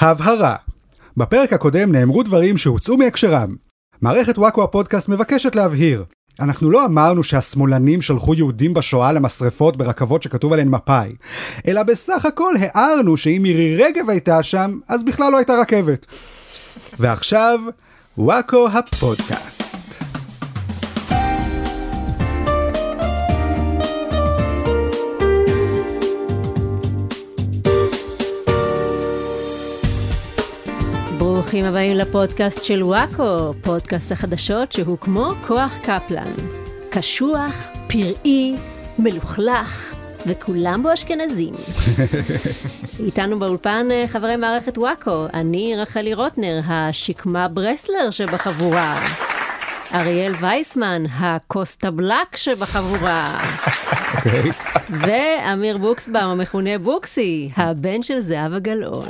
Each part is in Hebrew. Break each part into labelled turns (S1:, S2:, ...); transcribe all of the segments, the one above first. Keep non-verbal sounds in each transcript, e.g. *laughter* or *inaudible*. S1: הבהרה בפרק הקודם נאמרו דברים שהוצאו מהקשרם. מערכת וואקו הפודקאסט מבקשת להבהיר. אנחנו לא אמרנו שהשמאלנים שלחו יהודים בשואה למשרפות ברכבות שכתוב עליהן מפא"י, אלא בסך הכל הערנו שאם מירי רגב הייתה שם, אז בכלל לא הייתה רכבת. ועכשיו, וואקו הפודקאסט.
S2: ברוכים הבאים לפודקאסט של וואקו, פודקאסט החדשות שהוא כמו כוח קפלן. קשוח, פראי, מלוכלך, וכולם בו אשכנזים. איתנו באולפן אה, חברי מערכת וואקו, אני רחלי רוטנר, השקמה ברסלר שבחבורה. אריאל וייסמן, הקוסטבלק שבחבורה.
S1: אוקיי.
S2: ואמיר בוקסבאום, המכונה בוקסי, הבן של זהבה גלאון.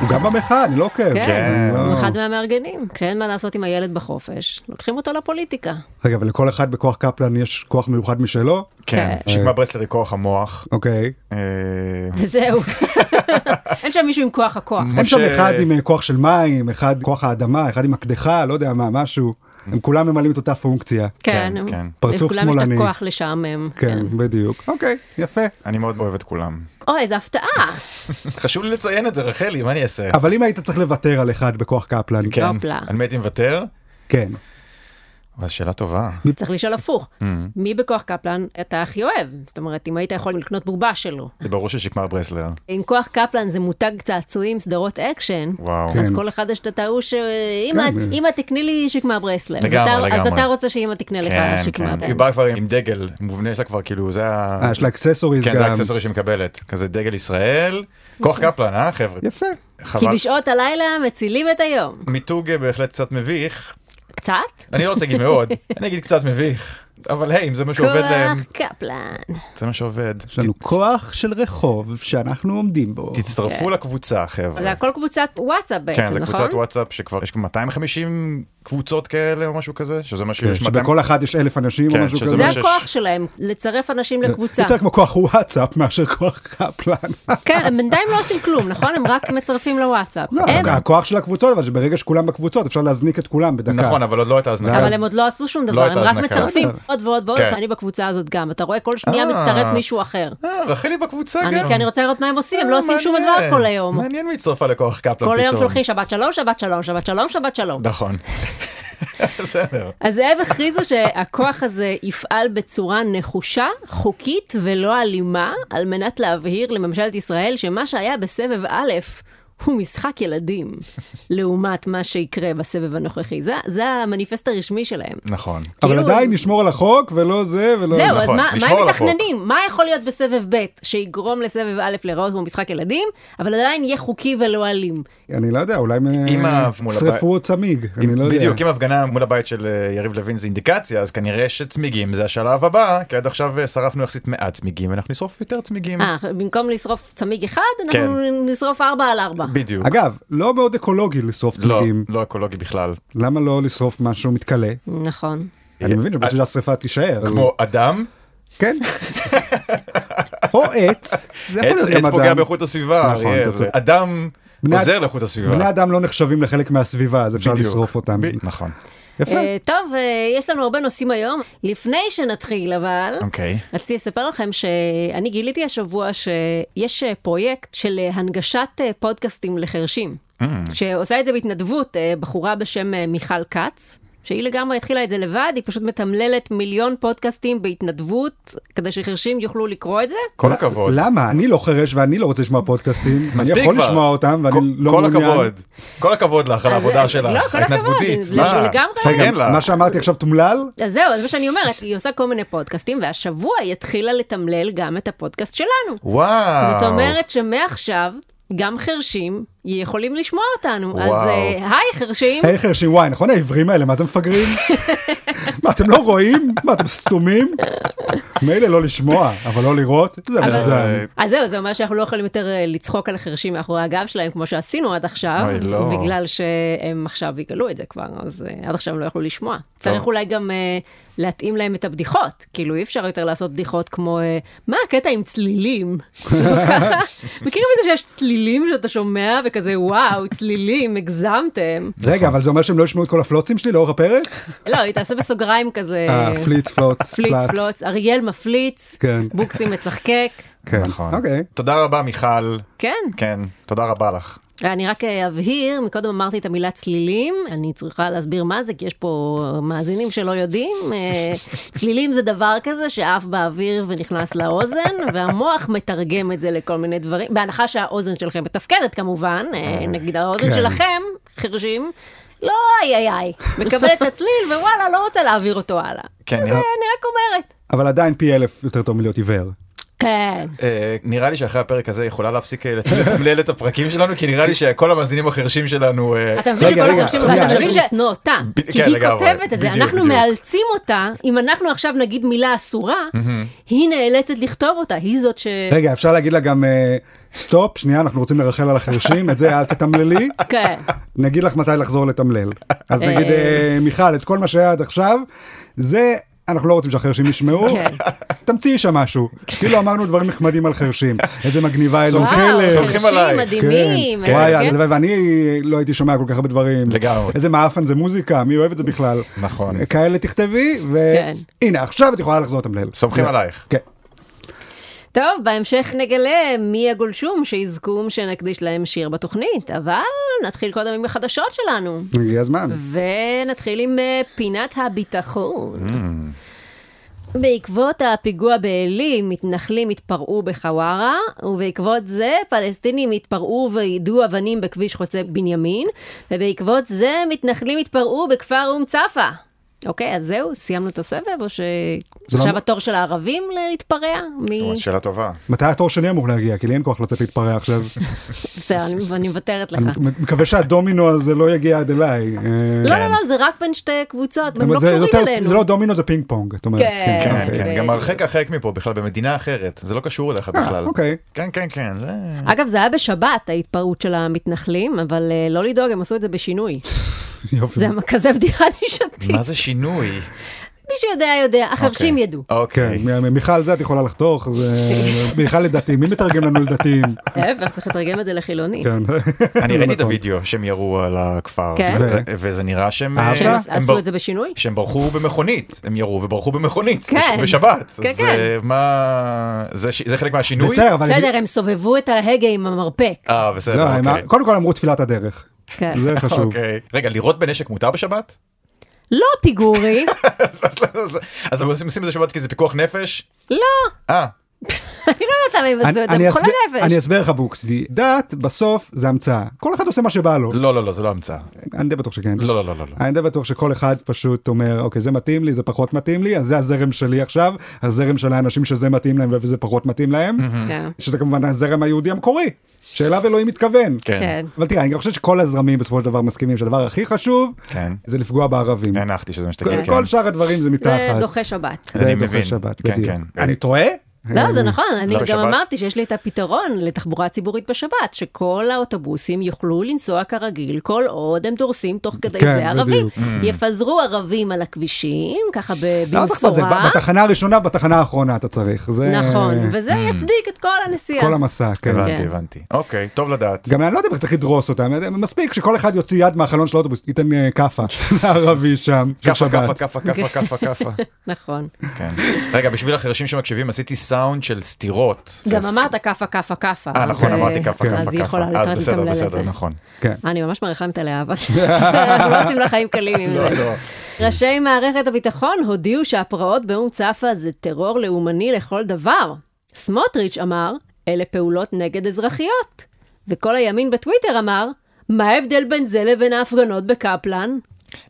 S1: הוא גם במחאה, אני לא עוקב.
S2: כן,
S1: אני לא-
S2: הוא אחד מהמארגנים. כשאין מה לעשות עם הילד בחופש, לוקחים אותו לפוליטיקה. *laughs*
S1: רגע, אבל לכל אחד בכוח קפלן יש כוח מיוחד משלו?
S2: כן.
S3: כן, שקמה ברסלר היא כוח המוח.
S1: אוקיי.
S3: אה,
S2: וזהו. אין שם מישהו עם כוח הכוח.
S1: אין שם
S3: משה-
S1: אחד עם אה, כוח של מים, אחד כוח האדמה, אחד עם הקדחה, לא יודע מה, משהו. הם כולם ממלאים את אותה פונקציה.
S2: כן,
S3: כן, כן.
S1: פרצוף
S2: לכולם יש
S1: שמאלני.
S2: את הכוח לשעמם. כן.
S1: כן, בדיוק. אוקיי, יפה.
S3: אני מאוד אוהב את כולם.
S2: אוי, איזה הפתעה.
S3: חשוב לי לציין את זה, רחלי, מה אני אעשה?
S1: אבל אם היית צריך לוותר על אחד בכוח קפלן,
S3: כן.
S2: הופלה.
S3: על מי הייתי מוותר?
S1: כן.
S3: אבל שאלה טובה.
S2: צריך לשאול הפוך. מי בכוח קפלן אתה הכי אוהב? זאת אומרת, אם היית יכול לקנות בובה שלו.
S3: זה ברור ששקמה ברסלר.
S2: עם כוח קפלן זה מותג צעצועים, סדרות אקשן.
S3: וואו.
S1: כן.
S2: אז כל אחד יש את ההוא שאמא,
S1: כן.
S2: אמא תקני לי שקמה ברסלב. אז
S3: לגמרי,
S2: אתה- אז
S3: לגמרי. כן,
S2: אתה רוצה שאמא תקנה לך שקמה
S3: היא
S2: ברסלב.
S3: באה כבר עם דגל מובנה שלה כבר כאילו זה ה...
S1: אה, יש לה אקססוריז
S3: כן, זה
S1: גם.
S3: האקססורי שהיא מקבלת. כזה דגל ישראל. כוח
S2: נכון.
S3: קפלן, אה חבר'ה?
S1: יפה.
S2: כי
S3: חבל.
S2: בשעות הלילה מצילים את היום.
S3: מיתוג אה, בהחלט קצת מביך.
S2: קצת?
S3: אני לא רוצה להגיד
S2: *laughs*
S3: מאוד, אני אגיד קצת מביך. אבל היי, אם זה מה שעובד להם,
S2: כוח קפלן.
S3: זה מה שעובד.
S1: יש לנו כוח של רחוב שאנחנו עומדים בו.
S3: תצטרפו
S2: כן.
S3: לקבוצה, חבר'ה.
S2: זה הכל קבוצת וואטסאפ בעצם,
S3: כן,
S2: נכון?
S3: זה קבוצת וואטסאפ שכבר יש 250 קבוצות כאלה או משהו כזה, שזה
S1: כן,
S3: מה שיש 200...
S1: שבכל אחת יש אלף אנשים או
S3: כן,
S1: משהו
S3: שזה
S1: כזה.
S2: זה
S3: מה שיש.
S2: הכוח שלהם, לצרף אנשים לקבוצה.
S1: יותר כמו כוח וואטסאפ מאשר כוח קפלן.
S2: *laughs* כן, הם בינתיים לא עושים כלום, נכון? הם רק מצרפים לוואטסאפ.
S1: לא,
S2: הם-
S1: הכוח של הקבוצות, אבל שברגע שכולם בקבוצות אפשר להזניק את כולם בדקה.
S3: נכון, אבל עוד לא הייתה הזנקה.
S2: אבל הם עוד לא עשו שום דבר,
S3: הייתה
S2: הם רק
S3: הזנקה.
S2: מצרפים עוד ועוד ועוד,
S3: כן.
S2: אני בקבוצה הזאת גם. אתה רואה, כל שנייה
S3: אה.
S2: מצטרף מישהו אחר.
S3: אה, רחלי בקבוצה
S2: אני-
S3: גם.
S2: כי אני רוצה לראות מה הם עושים, הם לא
S3: אה,
S2: עושים שום
S3: מעניין.
S2: דבר כל היום.
S3: מעניין מי הצטרפה לכוח קפלן פתאום.
S2: כל היום שולחים שבת שלום, שבת שלום, שבת שלום, שבת שלום.
S3: נכון. *laughs* בסדר.
S2: אז הם הכריזו שהכוח הזה יפעל בצורה נחושה, חוקית ולא אלימה, על מנת להבהיר לממשלת ישראל שמה שהיה בסבב א' הוא משחק
S3: *laughs*
S2: ילדים, לעומת מה שיקרה בסבב הנוכחי. זה, זה המניפסט הרשמי שלהם.
S3: נכון.
S1: אבל
S2: כאילו-
S1: עדיין נשמור על החוק ולא זה ולא...
S2: זהו, אז
S3: נכון,
S2: מה, מה
S3: לשמור
S2: הם
S3: על החוק.
S2: מתכננים? מה יכול להיות בסבב ב' שיגרום לסבב א' להיראות כמו משחק ילדים, אבל עדיין יהיה חוקי ולא אלים?
S1: אני לא יודע, אולי
S3: אם
S1: אה,
S3: ה- מול
S1: שרפו צמיג, אני לא יודע.
S3: בדיוק, אם הפגנה מול הבית של אה, יריב לוין זה אינדיקציה, אז כנראה שצמיגים זה השלב הבא, כי עד עכשיו אה, שרפנו יחסית מעט צמיגים, ואנחנו נשרוף יותר צמיגים.
S2: אה, במקום לשרוף צמיג אחד, אנחנו
S3: כן.
S2: נשרוף ארבע על ארבע.
S3: בדיוק.
S1: אגב, לא מאוד אקולוגי לשרוף
S3: לא,
S1: צמיגים.
S3: לא אקולוגי בכלל.
S1: למה לא לשרוף משהו מתכלה?
S2: נכון.
S1: אני מבין שבשביל שהשרפה תישאר. אבל-
S3: אה, כמו אדם, *laughs*
S1: כן. או עץ. זה יכול
S3: עץ
S1: להיות
S3: עץ
S1: גם
S3: פוגע
S1: אדם.
S3: באיכות הסביבה,
S1: נכון,
S3: אריאל.
S1: אתה צודק.
S3: אדם
S1: בני-
S3: עוזר לאיכות הסביבה.
S1: בני אדם לא נחשבים לחלק מהסביבה, אז אפשר
S3: בדיוק.
S1: לשרוף אותם.
S3: ב- נכון.
S1: יפה.
S2: אה, טוב, אה, יש לנו הרבה נושאים היום. לפני שנתחיל, אבל...
S3: אוקיי.
S2: רציתי לספר לכם שאני גיליתי השבוע שיש אה, פרויקט של אה, הנגשת אה, פודקאסטים לחרשים, שעושה את זה בהתנדבות אה, בחורה בשם אה, מיכל כץ. שהיא לגמרי התחילה את זה לבד, היא פשוט מתמללת מיליון פודקאסטים בהתנדבות, כדי שחרשים יוכלו לקרוא את זה.
S3: כל הכבוד.
S1: למה? אני לא חירש ואני לא רוצה לשמוע פודקאסטים. אני
S3: מספיק
S1: יכול
S3: כבר.
S1: לשמוע אותם
S3: כל-
S1: ואני לא
S3: כל
S1: מעוניין.
S3: הכבוד. כל הכבוד לך על
S2: אז,
S3: העבודה
S2: אה, לא,
S3: שלך,
S2: כל הכבוד,
S3: ההתנדבותית.
S2: זה
S3: מה?
S2: לגמרי.
S3: תפרגן
S1: רגע,
S3: לה.
S1: מה שאמרתי עכשיו תומלל?
S2: אז זהו, זה מה שאני אומרת, היא עושה כל מיני פודקאסטים, והשבוע היא התחילה לתמלל גם את הפודקאסט שלנו.
S3: וואו.
S2: זאת אומרת שמעכשיו גם חרשים יכולים לשמוע אותנו.
S3: וואו.
S2: אז אה, היי חרשים,
S1: היי חרשים, וואי, נכון העברים האלה, מה זה מפגרים? מה, אתם לא רואים? מה, אתם סתומים? מילא לא לשמוע, אבל לא לראות? זה מזל.
S3: אה,
S2: אז זהו, זה אומר שאנחנו לא יכולים יותר אה, לצחוק על חרשים מאחורי הגב שלהם כמו שעשינו עד עכשיו,
S3: אוי, לא.
S2: בגלל שהם עכשיו יגלו את זה כבר, אז אה, עד עכשיו הם לא יכלו לשמוע. צריך אולי גם אה, להתאים להם את הבדיחות. כאילו, אי אפשר יותר לעשות בדיחות כמו, אה, מה הקטע עם צלילים? *laughs* מכירים את זה שיש צלילים שאתה שומע וכזה, וואו, צלילים, הגזמתם.
S1: רגע, אבל זה אומר שהם לא ישמעו את כל הפלוצים שלי לאורך הפרק?
S2: לא, היא תעשה בסוגריים כזה.
S1: אה, פליץ, *laughs* פלוץ,
S2: פליץ,
S1: פלץ.
S2: פלוץ, אריאל מפליץ,
S1: כן.
S2: בוקסי מצחקק.
S1: כן,
S3: נכון.
S1: אוקיי.
S3: תודה רבה, מיכל.
S2: כן,
S3: כן, תודה רבה לך.
S2: אני רק אה, אבהיר, מקודם אמרתי את המילה צלילים, אני צריכה להסביר מה זה, כי יש פה מאזינים שלא יודעים. אה, צלילים זה דבר כזה שעף באוויר ונכנס לאוזן, והמוח מתרגם את זה לכל מיני דברים, בהנחה שהאוזן שלכם מתפקדת כמובן, אה, נגיד האוזן
S1: כן.
S2: שלכם, חרשים, לא איי איי איי, מקבל את הצליל ווואלה, לא רוצה להעביר אותו הלאה.
S3: כן,
S2: אז,
S3: נראה-
S2: אה, אני רק אומרת.
S1: אבל עדיין פי אלף יותר טוב מלהיות עיוור.
S2: כן.
S3: אה, נראה לי שאחרי הפרק הזה יכולה להפסיק אה, לתמלל את הפרקים שלנו, כי נראה לי שכל המאזינים החרשים שלנו... אה,
S2: אתה מבין
S1: רגע,
S2: שכל
S1: רגע,
S2: החרשים
S1: שנייה,
S2: אתה מבין
S1: רגע.
S2: לשנוא אותה,
S3: ב-
S2: כי
S3: כן,
S2: היא
S3: לגמרי.
S2: כותבת את זה,
S3: בדיוק,
S2: אנחנו
S3: בדיוק.
S2: מאלצים אותה, אם אנחנו עכשיו נגיד מילה אסורה, היא נאלצת לכתוב אותה, היא זאת ש...
S1: רגע, אפשר להגיד לה גם, אה, סטופ, שנייה, אנחנו רוצים לרחל על החרשים, את זה אל תתמללי,
S2: כן,
S1: נגיד לך מתי לחזור לתמלל. אז
S2: אה.
S1: נגיד, אה, מיכל, את כל מה שהיה עד עכשיו, זה, אנחנו לא רוצים שהחרשים ישמעו,
S2: כן.
S1: תמציאי שם משהו. כאילו אמרנו דברים נחמדים על חרשים, איזה מגניבה אלו
S3: *laughs* סומכים
S2: וואו,
S1: חלק.
S3: סומכים
S2: חרשים
S3: עלייך.
S2: מדהימים,
S1: כן,
S2: אה,
S1: וואי,
S2: כן.
S1: הלוואי, ואני לא הייתי שומע כל כך הרבה דברים.
S3: לגמרי.
S1: איזה מעפן זה מוזיקה, מי אוהב את זה בכלל?
S3: נכון.
S1: כאלה תכתבי,
S2: כן.
S1: והנה, עכשיו את יכולה לחזור לתמלל.
S3: סומכים
S1: כן.
S3: עלייך.
S1: כן.
S2: טוב, בהמשך נגלה מי הגולשום שיזכו שנקדיש להם שיר בתוכנית, אבל נתחיל קודם עם החדשות שלנו.
S1: הגיע הזמן.
S2: Mm. ונתחיל עם אה, פינת הביטחון.
S1: Mm.
S2: בעקבות הפיגוע בעלי, מתנחלים התפרעו בחווארה, ובעקבות זה פלסטינים התפרעו ויידו אבנים בכביש חוצה בנימין, ובעקבות זה מתנחלים התפרעו בכפר אום צפה. אוקיי, אז זהו, סיימנו את הסבב, או
S1: זה
S2: שעכשיו
S1: לא-
S2: התור של הערבים להתפרע? מי...
S3: וואי, שאלה טובה.
S1: מתי התור שלי אמור להגיע? כי לי אין כוח לצאת להתפרע עכשיו.
S2: *laughs* בסדר, אני- אני מוותרת לך.
S1: אני מקווה שהדומינו הזה לא יגיע עד אליי. אה,
S2: לא, לא, לא, זה רק בין שתי קבוצות,
S1: אבל
S2: הם לא
S1: זה
S2: קשורים
S1: יותר-
S2: אלינו.
S1: זה לא דומינו, זה פינג פונג. את אומרת.
S2: כן,
S3: כן,
S1: אוקיי.
S3: כן,
S2: אוקיי.
S3: גם הרחק הרחק מפה בכלל במדינה אחרת, זה לא קשור אליך בכלל.
S1: אוקיי.
S3: כן, כן, כן, זה...
S2: אגב, זה היה בשבת ההתפרעות של המתנחלים, אבל אה, לא לדאוג, הם עשו את זה
S1: *laughs*
S2: בשינוי.
S1: יופי.
S3: אוקיי.
S2: זה כזה בדיחה נישתית.
S3: מה זה
S2: *laughs*
S3: שינוי?
S2: מי שיודע, יודע, החרשים
S1: *laughs*
S3: אוקיי.
S2: ידעו.
S1: כן,
S3: אוקיי.
S1: מ- מ- מיכל זה את יכולה לחתוך, זה
S2: *laughs*
S1: מיכל לדתיים, מי מתרגם לנו לדתיים?
S2: להפך, צריך לתרגם את זה לחילוני.
S1: כן. *laughs*
S3: אני ראיתי את
S1: נכון.
S3: הוידאו שהם ירו על הכפר,
S2: כן?
S3: ו- וזה נראה שהם... אה,
S1: אהבת?
S2: שהם
S3: הם בר-
S2: עשו את זה בשינוי?
S3: שהם ברחו במכונית, הם ירו וברחו במכונית,
S2: כן.
S3: בש- בשבת.
S2: כן,
S3: אז
S2: כן.
S3: אה, מה... זה ש- זה חלק מהשינוי?
S1: בסדר, אבל...
S2: בסדר, הם סובבו את ההגה עם המרפק.
S3: אה,
S1: לא,
S3: בסדר,
S1: הם-
S3: אוקיי.
S1: קודם כל אמרו תפילת הדרך.
S2: כן.
S1: אה, זה חשוב.
S3: אוקיי. רגע, לירות בנשק מותר בשבת? *laughs*
S2: לא פיגורי, *laughs*
S3: אז לא, אז- אז הם עושים את זה בשבת כי זה פיקוח נפש?
S2: לא,
S3: אה,
S2: אני לא יודעת למה הם עשו
S1: אני-
S2: את זה,
S1: אני
S2: בכל
S1: אסביר- אני
S2: הנפש.
S1: אסביר לך בוקסי, דת בסוף זה המצאה. כל אחד עושה מה שבא לו.
S3: לא, לא, לא, זה לא המצאה.
S1: אני די בטוח שכן.
S3: לא, לא, לא, לא. לא.
S1: אני די בטוח שכל אחד פשוט אומר, אוקיי, זה מתאים לי, זה פחות מתאים לי, אז זה הזרם שלי עכשיו, הזרם של האנשים שזה מתאים להם וזה פחות מתאים להם,
S3: Mm-hmm.
S2: כן,
S1: שזה כמובן הזרם היהודי המקורי, שאליו אלוהים מתכוון.
S3: כן.
S2: כן.
S1: אבל תראה, אני גם חושב שכל הזרמים בסופו של דבר מסכימים שהדבר הכי חשוב
S3: כן.
S1: זה לפגוע בערבים.
S3: הנחתי שזה מה שתגיד.
S1: כל-
S3: כן.
S1: כל שאר הדברים זה
S2: זה
S1: מתחת.
S2: דוחה שבת.
S1: זה
S3: אני
S1: דוחה
S3: מבין.
S1: שבת,
S3: כן,
S1: בדיוק.
S3: כן.
S1: אני טועה?
S2: לא, זה נכון, אני
S3: לא
S2: גם
S3: בשבת?
S2: אמרתי שיש לי את הפתרון לתחבורה ציבורית בשבת, שכל האוטובוסים יוכלו לנסוע כרגיל, כל עוד הם דורסים תוך כדי
S1: כן,
S2: זה ערבים.
S3: Mm.
S1: בדיוק.
S2: יפזרו ערבים על הכבישים, ככה ב-
S1: לא צריך לזה,
S2: במשורה.
S1: בתחנה הראשונה, בתחנה האחרונה אתה צריך. זה-
S3: אה,
S2: נכון, וזה יצדיק את כל הנסיעה.
S1: כל המסע, כן.
S3: הבנתי,
S2: כן.
S3: הבנתי. אוקיי, טוב לדעת.
S1: גם אני לא יודע אם צריך לדרוס אותם, מספיק שכל אחד יוציא יד מהחלון של האוטובוס, ייתן אה,
S3: *laughs*
S1: כאפה לערבי שם, של
S3: כאפה, כאפה,
S1: שבת.
S3: כאפה, כאפה, כאפה,
S2: *laughs*
S3: כאפה.
S2: נכון.
S3: כן. רגע, בשביל החרשים שמקשיבים עשיתי סאונד של סתירות.
S2: גם אמרת כאפה, כאפה, כאפה.
S3: אה, נכון,
S2: אז,
S3: אמרתי
S2: אה,
S3: כאפה, כאפה,
S2: אז היא יכולה
S3: כאפה. אז
S2: יותר
S3: בסדר,
S2: לתמלל את
S3: בסדר,
S2: זה.
S3: נכון.
S1: כן.
S2: אני ממש מעריכה את הלהב,
S3: *laughs*
S2: אנחנו לא עושים לה חיים קלים עם
S3: לא,
S2: זה.
S3: לא.
S2: ראשי מערכת הביטחון הודיעו שהפרעות באום צפה זה טרור לאומני לכל דבר. סמוטריץ' אמר, אלה פעולות נגד אזרחיות. וכל הימין בטוויטר אמר, מה ההבדל בין זה לבין ההפגנות בקפלן?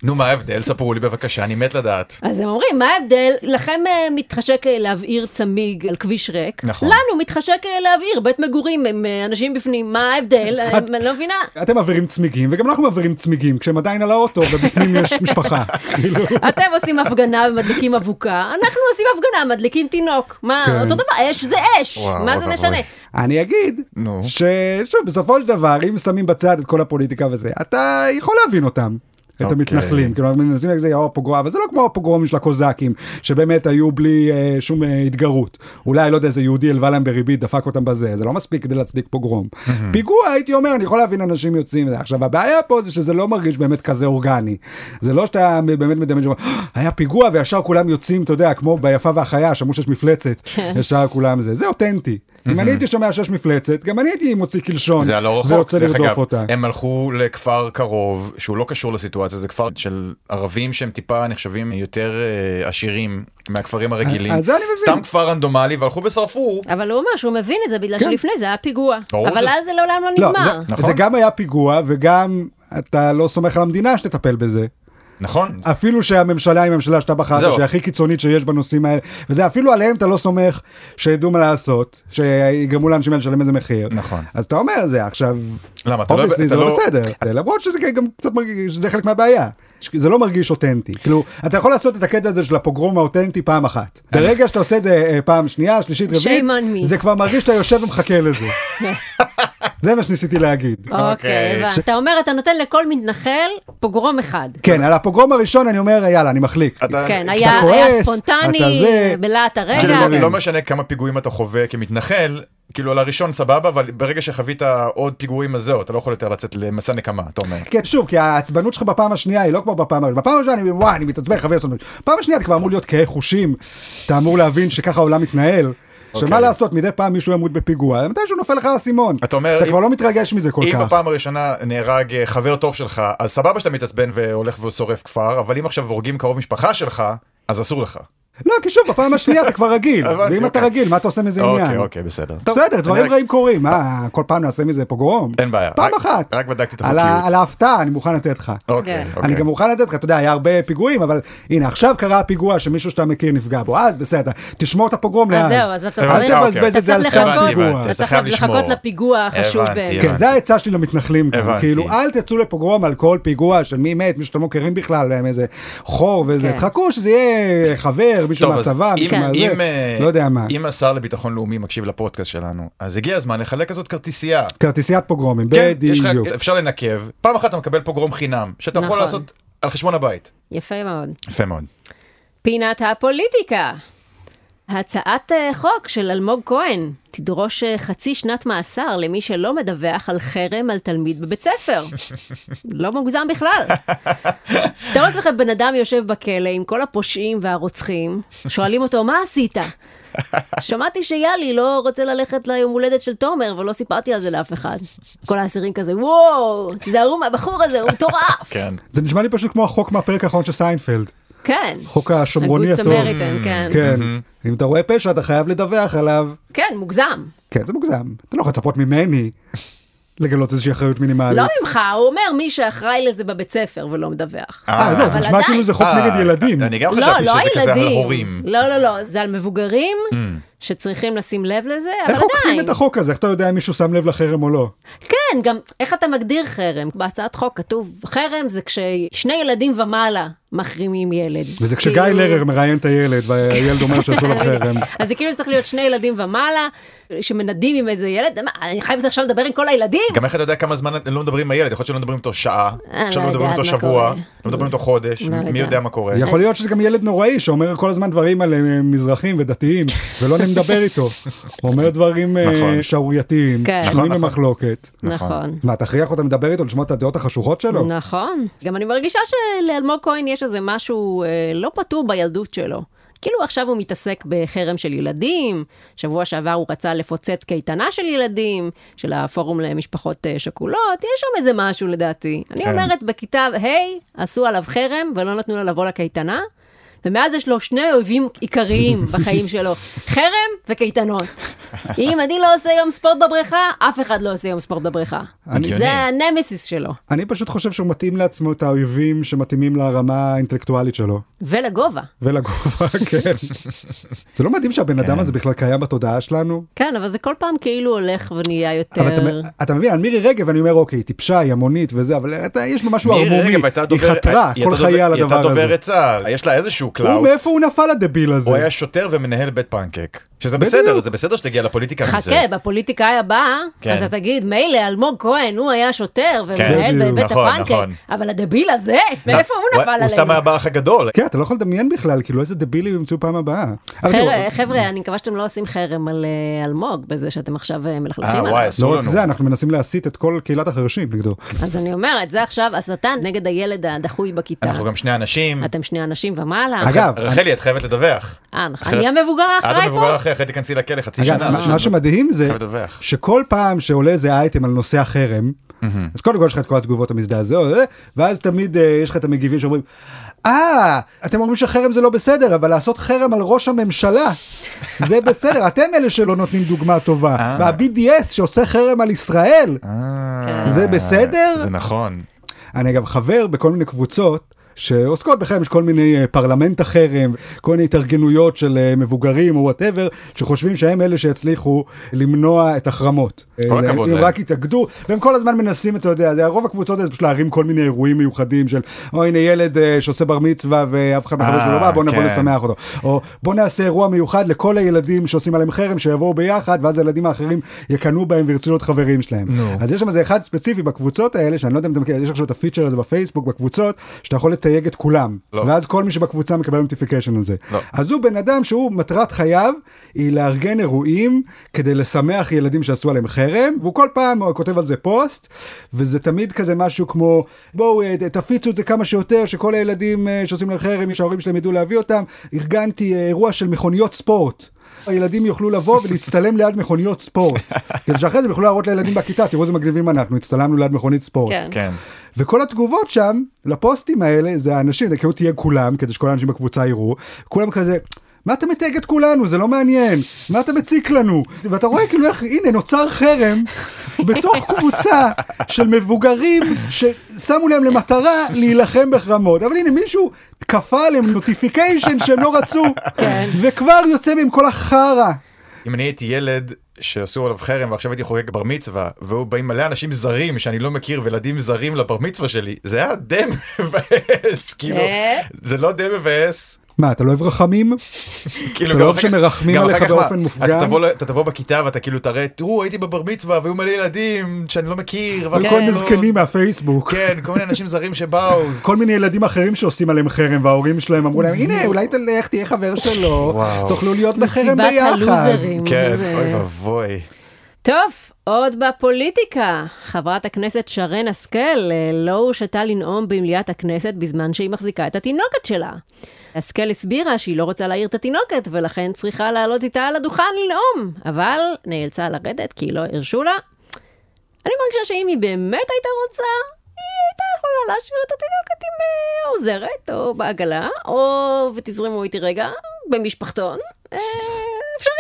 S3: נו, מה ההבדל? ספרו לי בבקשה, אני מת לדעת.
S2: אז הם אומרים, מה ההבדל? לכם אה, מתחשק אה, להבעיר צמיג על כביש ריק.
S3: נכון.
S2: לנו מתחשק אה, להבעיר בית מגורים עם אה, אנשים בפנים, מה
S3: *laughs*
S2: ההבדל? אה, אני לא מבינה.
S1: אתם מעבירים צמיגים, וגם אנחנו מעבירים צמיגים, כשהם עדיין על האוטו, ובפנים יש
S3: *laughs*
S1: משפחה. כאילו,
S2: אתם עושים הפגנה ומדליקים אבוקה, אנחנו עושים הפגנה, מדליקים תינוק. מה,
S1: כן.
S2: אותו דבר, אש זה אש,
S3: וואו,
S2: מה זה
S3: אוי
S2: משנה?
S3: ואבוי.
S1: אני אגיד,
S3: נו.
S1: ששוב, בסופו של דבר, אם שמים בצד את כל הפוליטיקה וזה, אתה יכול להבין אותם. את
S3: אוקיי.
S1: המתנחלים. כאילו, אנחנו מנסים להגיד זה יאור פוגרום, אבל זה לא כמו הפוגרומים של הקוזאקים, שבאמת היו בלי אה, שום אה, התגרות. אולי, לא יודע, איזה יהודי הלווה להם בריבית, דפק אותם בזה, זה לא מספיק כדי להצדיק פוגרום. פיגוע, הייתי אומר, אני יכול להבין אנשים יוצאים. מזה. עכשיו, הבעיה פה זה שזה לא מרגיש באמת כזה אורגני. זה לא שאתה באמת מדמיין, שאומר, "אה, היה פיגוע וישר כולם יוצאים, אתה יודע, כמו ביפה והחיה, שמעו שיש מפלצת, ישר כולם זה. זה אותנטי. אם אני הייתי שומע שיש מפלצת, גם אני הייתי מוציא קלשון,
S3: זה היה לא רחוק,
S1: ויוצא
S3: דרך
S1: נכון. לרדוף
S3: אגב,
S1: אותה.
S3: הם הלכו לכפר קרוב שהוא לא קשור לסיטואציה, זה כפר של ערבים שהם טיפה נחשבים יותר אה, עשירים מהכפרים הרגילים.
S1: אז זה אני מבין.
S3: סתם כפר רנדומלי והלכו ושרפו.
S2: אבל הוא אומר שהוא מבין את זה בגלל
S1: כן.
S2: שלפני זה היה פיגוע.
S3: ברור
S2: אבל
S3: שזה-
S2: אז זה לעולם לא
S1: לא,
S2: נגמר.
S1: זה,
S3: נכון.
S1: זה גם היה פיגוע וגם אתה לא סומך על המדינה שתטפל בזה.
S3: נכון,
S1: אפילו שהממשלה היא ממשלה שאתה בחרת,
S3: זהו.
S1: שהיא הכי קיצונית שיש בנושאים האלה, וזה אפילו עליהם אתה לא סומך שידעו מה לעשות, שיגרמו לאנשים האלה לשלם איזה מחיר.
S3: נכון.
S1: אז אתה אומר זה עכשיו,
S3: למה, אתה לא-
S1: obviously
S3: אתה
S1: זה לא
S3: לא-
S1: בסדר, למרות שזה גם קצת מרגיש, שזה חלק מהבעיה. זה לא מרגיש אותנטי, כאילו, אתה יכול לעשות את הקטע הזה של הפוגרום האותנטי פעם אחת. ברגע שאתה עושה את זה אה, פעם שנייה, שלישית, רביעית,
S2: Shame on me.
S1: זה כבר מרגיש שאתה יושב ומחכה
S2: *laughs*
S1: לזה. זה מה שניסיתי להגיד.
S2: אוקיי,
S3: אוקיי.
S2: הבנתי. אתה אומר, אתה נותן לכל מתנחל פוגרום אחד.
S1: כן, על הפוגרום הראשון אני אומר, יאללה, אני מחליק.
S3: אתה-
S2: כן,
S3: אתה
S2: היה
S1: כועס,
S2: היה
S1: אתה
S2: ספונטני,
S1: זה,
S2: בלהט הרגע.
S3: כאילו, לא-
S1: כן.
S3: לא משנה כמה פיגועים אתה חווה כמתנחל. כאילו על הראשון סבבה אבל ברגע שחווית עוד פיגועים אז זהו אתה לא יכול יותר לצאת למסע נקמה אתה אומר.
S1: כן, שוב, כי העצבנות שלך בפעם השנייה היא לא כמו בפעם הראשונה. בפעם הראשונה אני אומר, וואי, אני מתעצבן, חבר לעשות משהו. פעם השנייה אתה כבר אמור להיות קהה חושים, אתה אמור להבין שככה העולם מתנהל. שמה
S3: אוקיי.
S1: לעשות, מדי פעם מישהו ימות בפיגוע, מתישהו נופל לך האסימון.
S3: אתה אומר,
S1: אתה
S3: אם-
S1: כבר לא מתרגש מזה כל
S3: אם
S1: כך.
S3: בפעם הראשונה נהרג אה, חבר טוב שלך אז סבבה שאתה מתעצבן והולך ושורף כפר אבל אם עכשיו הורגים קרוב משפחה שלך אז אסור לך.
S1: לא, כי שוב, בפעם השנייה אתה כבר
S3: *laughs*
S1: רגיל.
S3: הבנתי,
S1: כאילו, ואם אתה
S3: אוקיי.
S1: רגיל, מה אתה עושה מזה
S3: אוקיי
S1: עניין?
S3: אוקיי בסדר. טוב,
S1: בסדר,
S3: אני
S1: דברים
S3: רק-
S1: רעים קורים. מה, כל פעם נעשה מזה פוגרום?
S3: אין בעיה.
S1: פעם
S3: רק-
S1: אחת.
S3: רק בדקתי את
S1: על ה-
S3: החוקיות.
S1: על ההפתעה, אני מוכן לתת לך.
S3: אוקיי,
S2: כן.
S3: אוקיי.
S1: אני גם מוכן לתת לך, אתה יודע, היה הרבה פיגועים, אבל הנה, עכשיו קרה הפיגוע שמישהו שאתה מכיר נפגע בו, אז בסדר, תשמור את הפוגרום
S2: אז
S1: לאז.
S2: אה, זהו, אז אתה
S1: אל
S2: צריך-
S1: תבזבז
S2: אתה
S1: לא את זה על
S2: צריך
S1: סתם
S2: לחכות-
S1: פיגוע.
S2: אתה
S3: אתה
S2: צריך
S3: חייב לשמור.
S2: לחכות לפיגוע החשוב
S3: הבנתי,
S2: באמת.
S3: הבנתי.
S1: כן, זה העצה שלי למתנחלים גם,
S3: הבנתי.
S1: כאילו, אל תצאו לפוגרום על כל פיגוע של מי מת, מישהו שאתם לא מכירים בכלל, עם איזה חור וזה,
S2: כן.
S1: תחכו שזה יהיה חבר, מישהו
S3: טוב, אז
S1: מהצבא,
S3: אם-
S1: מישהו מהזה,
S3: אם, אה,
S1: לא יודע מה.
S3: אם השר לביטחון לאומי מקשיב לפודקאסט שלנו אז הגיע הזמן לחלק כזאת כרטיסייה.
S1: כרטיסיית פוגרומים,
S3: כן, יש לך-
S1: בדיוק.
S3: אפשר לנקב פעם אחת אתה מקבל פוגרום חינם שאתה יכול
S2: נכון.
S3: לעשות על חשבון הבית.
S2: יפה מאוד.
S3: יפה מאוד.
S2: פינת הפוליטיקה. הצעת אה, חוק של אלמוג כהן תדרוש אה, חצי שנת מאסר למי שלא מדווח על חרם על תלמיד בבית ספר. לא מוגזם בכלל. תארו לעצמכם בן אדם יושב בכלא עם כל הפושעים והרוצחים, שואלים אותו, מה עשית? שמעתי שיאלי לא רוצה ללכת ליום הולדת של תומר, ולא סיפרתי על זה לאף אחד. כל האסירים כזה, וואו, תיזהרו מהבחור הזה, הוא מטורף.
S3: כן.
S1: זה נשמע לי פשוט כמו החוק מהפרק האחרון של סיינפלד,
S2: כן.
S1: חוק השומרוני
S2: Good
S1: הטוב.
S2: Samaritan, כן.
S1: כן, אם אתה רואה פשע אתה חייב לדווח עליו.
S2: כן, מוגזם.
S1: כן, זה מוגזם. אתה לא יכול לצפות ממני לגלות איזושהי אחריות מינימלית.
S2: לא ממך, הוא אומר מי שאחראי לזה בבית ספר ולא מדווח.
S1: אה, זהו, זה
S2: אבל
S1: נשמע
S2: עדיין.
S1: כאילו זה חוק
S3: אה,
S1: נגד ילדים.
S3: אני גם
S2: לא,
S3: חשבתי
S2: לא
S3: שזה כזה על
S2: הילדים.
S3: הורים.
S2: לא, לא, לא, זה על מבוגרים שצריכים לשים לב לזה, אבל
S1: איך עוקפים
S2: עדיין.
S1: את החוק הזה? איך אתה יודע אם מישהו שם לב לחרם או לא?
S2: כן, גם איך אתה מגדיר חרם? בהצעת חוק כתוב חרם זה כששני ילדים ומעלה מחרימים ילד.
S1: וזה כשגיא
S2: כאילו-
S1: לרר מראיין את הילד, והילד אומר שעשו לו חרם.
S2: *laughs* אז זה כאילו צריך להיות שני ילדים ומעלה שמנדים עם איזה ילד, מה, אני חייבת עכשיו לדבר עם כל הילדים?
S3: גם איך אתה יודע כמה זמן לא מדברים עם הילד, יכול להיות שלא מדברים איתו שעה,
S2: אה,
S3: עכשיו
S2: לא
S3: לא מדברים
S2: יודעת
S3: איתו
S2: מה
S3: שבוע,
S2: קורה.
S3: לא מדברים איתו חודש,
S2: לא
S3: מי
S2: יודעת.
S3: יודע מה קורה.
S1: יכול להיות שזה גם ילד נוראי שאומר כל הזמן דברים על אה, מזרחים ודתיים, ולא נדבר איתו. הוא אומר דברים אה,
S3: נכון.
S1: שערורייתיים,
S2: כן. נכון,
S1: שנויים במחלוקת.
S2: נכון.
S1: מה, תכריח אותם לדבר איתו, לשמוע את הדעות החשוכות שלו?
S2: נכון. גם אני מרגישה שלאלמוג כהן יש איזה משהו אה, לא פתור בילדות שלו. כאילו עכשיו הוא מתעסק בחרם של ילדים, שבוע שעבר הוא רצה לפוצץ קייטנה של ילדים, של הפורום למשפחות אה, שכולות, יש שם איזה משהו לדעתי. אני
S3: כן.
S2: אומרת, בכיתה ה' עשו עליו חרם ולא נתנו לו לבוא לקייטנה, ומאז יש לו שני אויבים
S1: *laughs*
S2: עיקריים בחיים שלו, חרם וקייטנות. אם אני לא עושה יום ספורט בבריכה, אף אחד לא עושה יום ספורט בבריכה.
S1: אני-
S2: זה הנמסיס שלו.
S1: אני פשוט חושב שהוא מתאים לעצמו את האויבים שמתאימים לרמה האינטלקטואלית שלו.
S2: ולגובה.
S1: ולגובה, *laughs* כן. זה לא מדהים שהבן אדם הזה בכלל קיים בתודעה שלנו?
S2: כן, אבל זה כל פעם כאילו הולך ונהיה יותר...
S1: אבל אתה, אתה מבין, על מירי רגב אני אומר, אוקיי, היא טיפשה, היא המונית וזה, אבל אתה, יש בה משהו
S3: מירי
S1: ערמומי,
S3: רגב הייתה
S1: היא
S3: דובר-
S1: חתרה
S3: היא
S1: כל
S3: הייתה דובר-
S1: חייה על
S3: היא הייתה
S1: הדבר הזה.
S3: דוברת צה"ל, יש לה איזשהו איזשהו קלאוט.
S1: מאיפה הוא נפל הדביל הזה?
S3: הוא היה שוטר ומנהל בית פנקק. שזה
S1: בדיוק.
S3: בסדר, זה בסדר שתגיע לפוליטיקה מזה.
S2: חכה, בפוליטיקאי הבא,
S3: כן.
S2: אתה תגיד, מילא אלמוג כהן, הוא היה שוטר ומנהל
S1: בדיוק.
S2: בבית
S3: נכון, נכון.
S2: הפנקק, אבל הדביל הזה, מאיפה הוא נפל
S3: הוא סתם היה
S2: עלינו?
S3: באח הגדול.
S1: כן, אתה לא יכול לדמיין בכלל, כאילו איזה דבילים ימצאו פעם הבאה. אבל תראו,
S2: חבר'ה, חבר'ה, אני מקווה שאתם לא עושים חרם על אה, אלמוג בזה שאתם עכשיו אה, מלכלכים
S3: אה,
S2: עליו.
S3: וואי,
S1: לא
S3: אסור
S1: רק
S3: לנו.
S1: זה, אנחנו מנסים להסיט את כל קהילת החרשים נגדו.
S2: אז אני אומרת, זה עכשיו הסתה נגד הילד הדחוי בכיתה.
S3: אנחנו גם שני אנשים.
S2: אתם שני אנשים ומעלה.
S1: אגב,
S3: רחלי, את חייבת לדווח.
S2: אה, נכון.
S3: אחרת-
S2: אני המבוגר
S3: את
S2: האחראי
S3: המבוגר
S2: פה?
S3: אחרי, אחרי תיכנסי לכלא חצי
S1: אגב,
S3: שנה.
S1: מה- מה שמדהים זה
S3: חייב לדווח.
S1: שכל פעם שעולה איזה אייטם על נושא החרם, אז קודם כל יש לך את כל התגובות המזדעזעות, אה, ואז תמיד אה, יש לך את המגיבים שאומרים, אה, אתם אומרים שחרם זה לא בסדר, אבל לעשות חרם על ראש הממשלה, זה
S3: *laughs*
S1: בסדר, אתם אלה שלא נותנים דוגמה טובה, וה-BDS שעושה חרם על ישראל,
S3: אה,
S1: זה בסדר?
S3: זה נכון.
S1: אני אגב חבר בכל מיני קבוצות. שעוסקות בחרם, יש כל מיני אה, פרלמנט החרם, כל מיני התארגנויות של אה, מבוגרים או וואטאבר, שחושבים שהם אלה שהצליחו למנוע את החרמות.
S3: כל
S1: אה, זה-
S3: הכבוד
S1: הם
S3: להם.
S1: רק התאגדו, והם כל הזמן מנסים, אתה יודע, זה- רוב הקבוצות האלה זה פשוט להרים כל מיני אירועים מיוחדים של, או הנה ילד אה, שעושה בר מצווה ואף אחד מהחברים
S3: אה,
S1: שלו לא בא, בוא נבוא
S3: כן.
S1: לשמח אותו. או בוא נעשה אירוע מיוחד לכל הילדים שעושים עליהם חרם, שיבואו ביחד, ואז הילדים האחרים יקנאו בהם וירצו להיות חברים שלהם. אז יש שם איזה אחד ספציפי בקבוצות האלה, שאני לא יודע אם אתה מכיר, יש עכשיו את הפיצ'ר הזה בפייסבוק, בקבוצות, שאתה יכול לתייג את כולם.
S3: לא.
S1: ואז כל מי שבקבוצה מקבל נוטיפיקשן על זה.
S3: לא.
S1: אז הוא בן אדם שהוא מטרת חייו היא לארגן אירועים כדי לשמח ילדים שעשו עליהם חרם והוא כל פעם כותב על זה פוסט וזה תמיד כזה משהו כמו בואו אה, ת- תפיצו את זה כמה שיותר שכל הילדים אה, שעושים להם חרם שההורים שלהם ידעו להביא אותם ארגנתי אה, אירוע של מכוניות ספורט. הילדים יוכלו לבוא ולהצטלם ליד מכוניות ספורט. כדי שאחרי זה הם יוכלו להראות לילדים בכיתה, תראו איזה מגניבים אנחנו, הצטלמנו ליד מכונית ספורט.
S2: כן.
S3: כן.
S1: וכל התגובות שם לפוסטים האלה זה האנשים זה כאילו תהיה כולם כדי שכל האנשים בקבוצה יראו כולם כזה. מה אתה מתייג את כולנו זה לא מעניין מה אתה מציק לנו ואתה רואה כאילו איך הנה נוצר חרם בתוך קבוצה של מבוגרים ששמו להם למטרה להילחם בחרמות אבל הנה מישהו כפה עליהם נוטיפיקיישן שהם לא רצו
S2: כן.
S1: וכבר יוצא מהם כל החרא
S3: אם אני הייתי ילד שעשו עליו חרם ועכשיו הייתי חוגג בר מצווה והיו באים מלא אנשים זרים שאני לא מכיר וילדים זרים לבר מצווה שלי זה היה די מבאס כאילו
S2: כן.
S3: זה לא די מבאס.
S1: מה אתה לא אוהב רחמים
S3: כאילו
S1: אתה
S3: גם
S1: לא
S3: אחר כך-
S1: שמרחמים
S3: גם אחר
S1: עליך
S3: כך מה,
S1: באופן מופגן?
S3: אתה תבוא ל- אתה תבוא בכיתה ואתה כאילו תראה תראו הייתי בבר מצווה והיו מלא ילדים שאני לא מכיר.
S1: על
S3: ואף
S1: כל
S3: אחד
S1: מיני
S3: לא-"
S1: זקנים מהפייסבוק.
S3: כן כל מיני אנשים
S1: *laughs*
S3: זרים שבאו.
S1: כל מיני ילדים אחרים שעושים עליהם חרם וההורים שלהם אמרו להם הנה אולי תלך תהיה חבר שלו
S3: וואו.
S1: תוכלו להיות בחרם
S2: מסיבת
S1: ביחד.
S2: הלוזרים.
S3: כן
S2: זה-
S3: אוי ואבוי.
S2: טוב, עוד בפוליטיקה. חברת הכנסת שרן השכל אה, לא הושתה לנאום במליאת הכנסת בזמן שהיא מחזיקה את התינוקת שלה. השכל הסבירה שהיא לא רוצה להעיר את התינוקת, ולכן צריכה לעלות איתה על הדוכן לנאום, אבל נאלצה לרדת כי לא הרשו לה. אני מרגישה שאם היא באמת הייתה רוצה, היא הייתה יכולה להשאיר את התינוקת עם אה, העוזרת, או בעגלה, או, ותזרמו איתי רגע, במשפחתון. אה, אפשרי.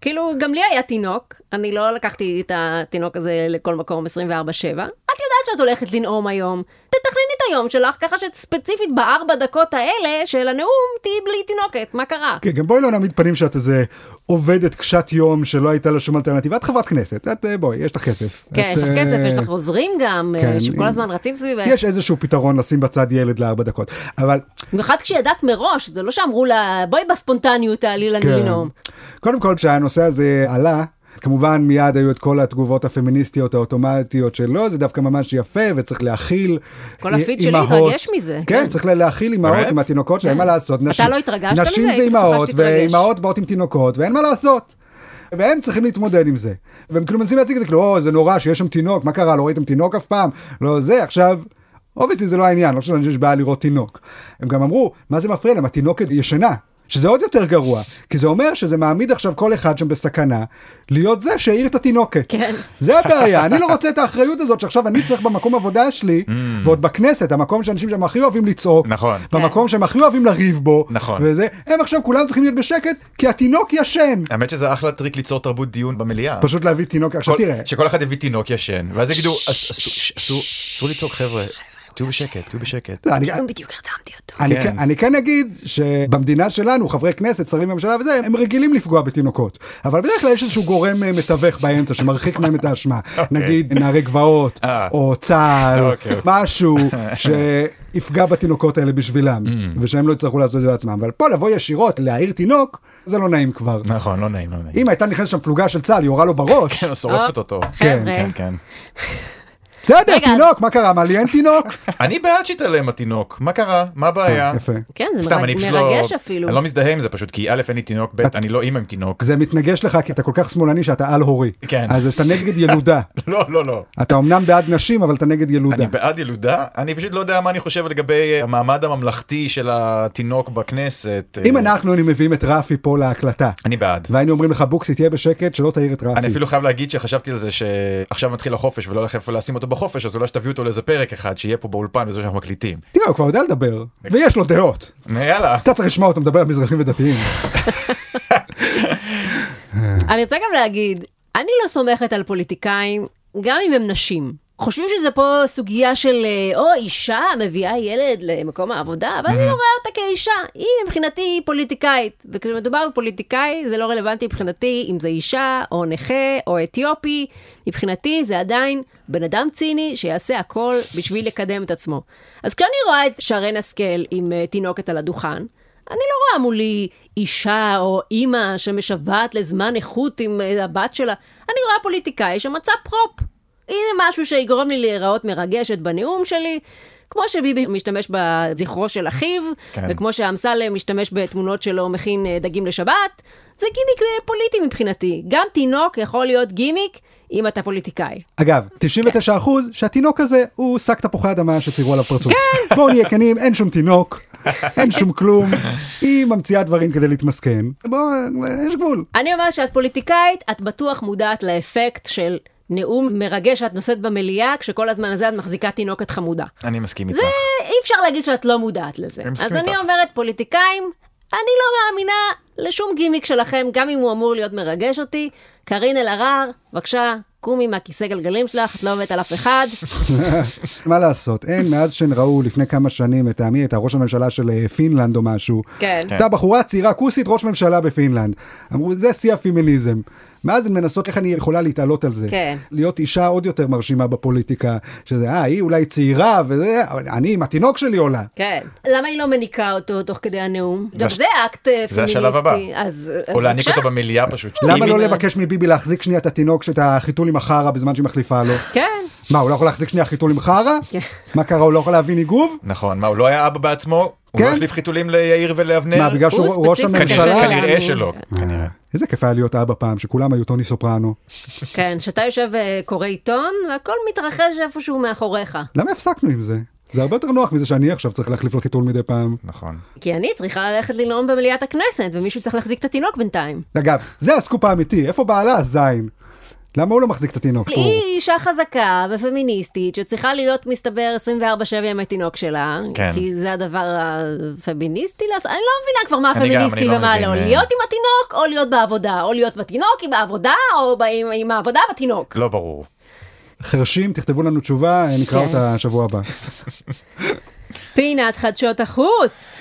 S2: כאילו, גם לי היה תינוק, אני לא לקחתי את התינוק הזה לכל מקום 24-7. את יודעת שאת הולכת לנאום היום. תתכנני את היום שלך, ככה שספציפית בארבע דקות האלה של הנאום, תהיי בלי תינוקת, מה קרה?
S1: כן, גם בואי לא נעמיד פנים שאת איזה עובדת קשת יום שלא הייתה לה שום אלטרנטיבה את חברת כנסת את אה, בואי יש לך כסף.
S2: כן,
S1: את,
S2: יש לך
S1: אה,
S2: כסף, יש לך עוזרים גם, אה,
S1: כן,
S2: שכל
S1: אם-
S2: הזמן רצים סביבך.
S1: יש איזשהו פתרון לשים בצד ילד לארבע דקות אבל
S2: במיוחד כשידעת מראש, זה לא שאמרו לה, בואי בספונטניות תעלי לנו
S1: כן.
S2: לנאום.
S1: קודם כל כשהנושא הזה עלה. אז כמובן מיד היו את כל התגובות הפמיניסטיות האוטומטיות שלא, זה דווקא ממש יפה וצריך להכיל
S2: כל הפיד שלי
S1: אימהות.
S2: התרגש מזה,
S1: כן,
S2: כן.
S1: צריך לה- להכיל אימהות
S3: באמת?
S1: עם התינוקות שלהם, אין מה לעשות.
S2: אתה לא התרגשת מזה?
S1: נשים זה
S2: הייתי בטוחה
S1: אימהות,
S2: שתתרגש.
S1: ואימהות באות עם תינוקות, ואין מה לעשות. והם צריכים להתמודד עם זה. והם כאילו מנסים להציג את זה, כאילו, או, זה נורא שיש שם תינוק, מה קרה, לא ראיתם תינוק אף פעם? לא זה, עכשיו... אובייסלי זה לא העניין, לא חושב שיש בעיה לראות תינוק. הם גם אמרו, מה זה מפריע להם, התינוקת ישנה. שזה עוד יותר גרוע, כי זה אומר שזה מעמיד עכשיו כל אחד שם בסכנה להיות זה שהעיר את התינוקת.
S2: כן.
S1: זה הבעיה, אני לא רוצה את האחריות הזאת שעכשיו אני צריך במקום עבודה שלי, ועוד בכנסת, המקום שאנשים שם הכי אוהבים לצעוק,
S3: Mm. נכון.
S1: במקום שהם הכי אוהבים לריב בו,
S3: נכון.
S1: וזה, הם עכשיו כולם צריכים להיות בשקט, כי התינוק ישן.
S3: האמת שזה אחלה טריק ליצור תרבות דיון במליאה.
S1: פשוט להביא תינוק, עכשיו
S3: כל-
S1: תראה,
S3: שכל אחד הביא תינוק ישן ואז יגידו "אס- אסור- אסור- אסור לצעוק חבר'ה תהיו בשקט תהיו בשקט.
S1: לא, אני-
S2: היום בדיוק הרדמתי אותו.
S1: אני
S3: כן.
S1: כן- אני כן אגיד שבמדינה שלנו, חברי כנסת, שרים בממשלה וזה, הם רגילים לפגוע בתינוקות, אבל בדרך כלל יש איזשהו גורם אה, מתווך באמצע שמרחיק מהם את
S3: *laughs*
S1: האשמה, נגיד נערי גבעות,
S3: אוקיי. אה.
S1: או צה"ל,
S3: *laughs* אוקיי.
S1: משהו ש... יפגע בתינוקות האלה בשבילם,
S3: Mm.
S1: ושהם לא יצטרכו לעשות את זה בעצמם. אבל פה לבוא ישירות, להעיר תינוק, זה לא נעים כבר.
S3: נכון, לא נעים, לא נעים.
S1: אם הייתה נכנסת שם פלוגה של צה"ל, היא יורה לו
S3: *laughs*
S1: בראש,
S3: כן, שורפת אותו.
S2: כן,
S3: כן, כן.
S1: בסדר,
S2: רגע,
S1: תינוק, מה קרה? מעליין תינוק?
S3: כן. אני בעד שתתעלם התינוק, מה קרה? מה הבעיה?
S1: אה, יפה.
S2: כן, זה
S3: סתם,
S2: מרג-
S3: אני פשוט לא...
S2: מרגש אפילו.
S3: אני לא מזדהה עם זה פשוט, כי א', אין לי תינוק, ב', אני לא אימא עם תינוק.
S1: זה מתנגש לך כי אתה כל כך שמאלני שאתה על-הורי.
S3: כן.
S1: אז אתה נגד ילודה.
S3: *laughs* לא, לא, לא.
S1: אתה אמנם בעד נשים, אבל אתה נגד ילודה.
S3: אני בעד ילודה, אני פשוט לא יודע מה אני חושב לגבי אה, המעמד הממלכתי של התינוק בכנסת.
S1: אם
S3: אה,
S1: אנחנו היינו מביאים את רפי פה להקלטה,
S3: אני בעד.
S1: והיינו אומרים לך, בוקסי, תהיה בשקט, שלא תעיר את רפי.
S3: אני אפילו חייב להגיד שחשבתי על זה שעכשיו מתחיל החופש ולא הולך איפה לשים אותו בחופש, אז אולי שתביאו אותו לאיזה פרק אחד שיהיה פה באולפן בזמן שאנחנו מקליטים.
S1: תראה, הוא כבר יודע לדבר, ויש לו דעות.
S3: יאללה.
S1: אתה צריך לשמוע אותו מדבר על מזרחים ודתיים.
S2: אני רוצה גם להגיד, אני לא סומכת על פוליטיקאים, גם אם הם נשים. חושבים שזה פה סוגיה של, אה, או אישה מביאה ילד למקום העבודה, אבל אני לא רואה אותה כאישה. היא מבחינתי פוליטיקאית, וכשמדובר בפוליטיקאי זה לא רלוונטי מבחינתי אם זה אישה, או נכה, או אתיופי. מבחינתי זה עדיין בן אדם ציני שיעשה הכל בשביל לקדם את עצמו. אז כשאני רואה את שרן השכל עם אה, תינוקת על הדוכן, אני לא רואה מולי אישה או אימא שמשוועת לזמן איכות עם אה, הבת שלה. אני רואה פוליטיקאי שמצא פרופ. הנה משהו שיגרום לי להיראות מרגשת בנאום שלי. כמו שביבי משתמש בזכרו של אחיו,
S3: כן.
S2: כן. וכמו שאמסלם משתמש בתמונות שלו מכין אה, דגים לשבת, זה גימיק אה, פוליטי מבחינתי. גם תינוק יכול להיות גימיק אם אתה פוליטיקאי.
S1: אגב, 99% שהתינוק הזה הוא שק תפוחי אדמה שציירו עליו פרצוף. כן. בואו נהיה כנים, אין שום תינוק, אין שום
S3: *laughs*
S1: כלום, היא ממציאה דברים כדי להתמסכן. בואו, אה, יש גבול.
S2: אני אומרת שאת פוליטיקאית, את בטוח מודעת לאפקט של נאום מרגש שאת נושאת במליאה, כשכל הזמן הזה את מחזיקה תינוקת חמודה.
S3: אני מסכים איתך.
S2: זה, אי אפשר להגיד שאת לא מודעת לזה.
S3: אני מסכים
S2: אז אני
S3: איתך.
S2: אומרת, פוליטיקאים, אני לא מאמינה לשום גימיק שלכם, גם אם הוא אמור להיות מרגש אותי. קארין אלהרר, בבקשה, קומי מהכיסא גלגלים שלך, את לא עומדת על אף
S3: *laughs*
S2: אחד.
S1: מה לעשות, אין, מאז שהן ראו לפני כמה שנים, לטעמי, את הראש הממשלה של אה, פינלנד או משהו.
S2: כן. כן.
S1: הייתה בחורה צעירה כוסית, ראש ממשלה בפינלנד. אמרו, זה שיא הפמיניזם. מאז הן מנסות איך אני יכולה להתעלות על זה.
S2: כן.
S1: להיות אישה עוד יותר מרשימה בפוליטיקה, שזה, אה, היא אולי צעירה, וזה, אבל אני עם התינוק שלי עולה.
S2: כן. למה היא לא מניקה אותו תוך כדי הנאום? גם
S3: הש-
S2: זה אקט אה, פמיניסטי.
S3: זה השלב הבא.
S2: אז אז
S3: או להעניק
S2: בבקשה.
S3: אותו במליאה פשוט.
S1: למה
S3: אם
S1: לא
S3: היא-
S1: לבקש מביבי להחזיק שנייה את התינוק, שאת החיתול עם החרא בזמן שהיא מחליפה לו?
S2: כן.
S1: מה, הוא לא יכול להחזיק שנייה חיתול עם חרא?
S2: כן.
S1: מה קרה, הוא לא יכול להבין איגוב?
S3: נכון, מה, הוא לא היה אבא בעצמו? הוא לא
S1: כן.
S3: החליף חיתולים ליאיר ולאבנר?
S1: מה, בגלל שהוא
S2: הוא
S1: ראש
S2: ספציפית
S3: כנראה-
S1: הממשלה?
S2: קשה
S3: כנראה
S2: להאמין.
S3: שלא. כנראה.
S1: איזה כיף היה להיות אבא פעם, שכולם היו טוני סופרנו.
S2: כן, שאתה יושב וקורא עיתון, והכל מתרחש איפשהו מאחוריך.
S1: למה הפסקנו עם זה? זה הרבה יותר נוח מזה שאני עכשיו צריך להחליף לו חיתול מדי פעם.
S3: נכון.
S2: כי אני צריכה ללכת לנאום במליאת הכנסת, ומישהו צריך להחזיק את התינוק בינתיים.
S1: אגב, זה הסקופ האמיתי, איפה בעלה הזין? למה הוא לא מחזיק את התינוק? הוא-
S2: היא אישה חזקה ופמיניסטית, שצריכה להיות מסתבר 24-7 עם התינוק שלה,
S3: כן.
S2: כי זה הדבר הפמיניסטי לעשות. אני לא מבינה כבר מה
S3: אני גם, אני
S2: הפמיניסטי
S3: לא
S2: ומה
S3: מבין,
S2: לא.
S3: אה.
S2: להיות עם התינוק או להיות בעבודה, או להיות בתינוק עם העבודה, או ב- עם- עם העבודה בתינוק.
S3: לא ברור.
S1: חרשים, תכתבו לנו תשובה, נקרא
S2: כן.
S1: אותה שבוע הבא.
S2: פינת חדשות החוץ!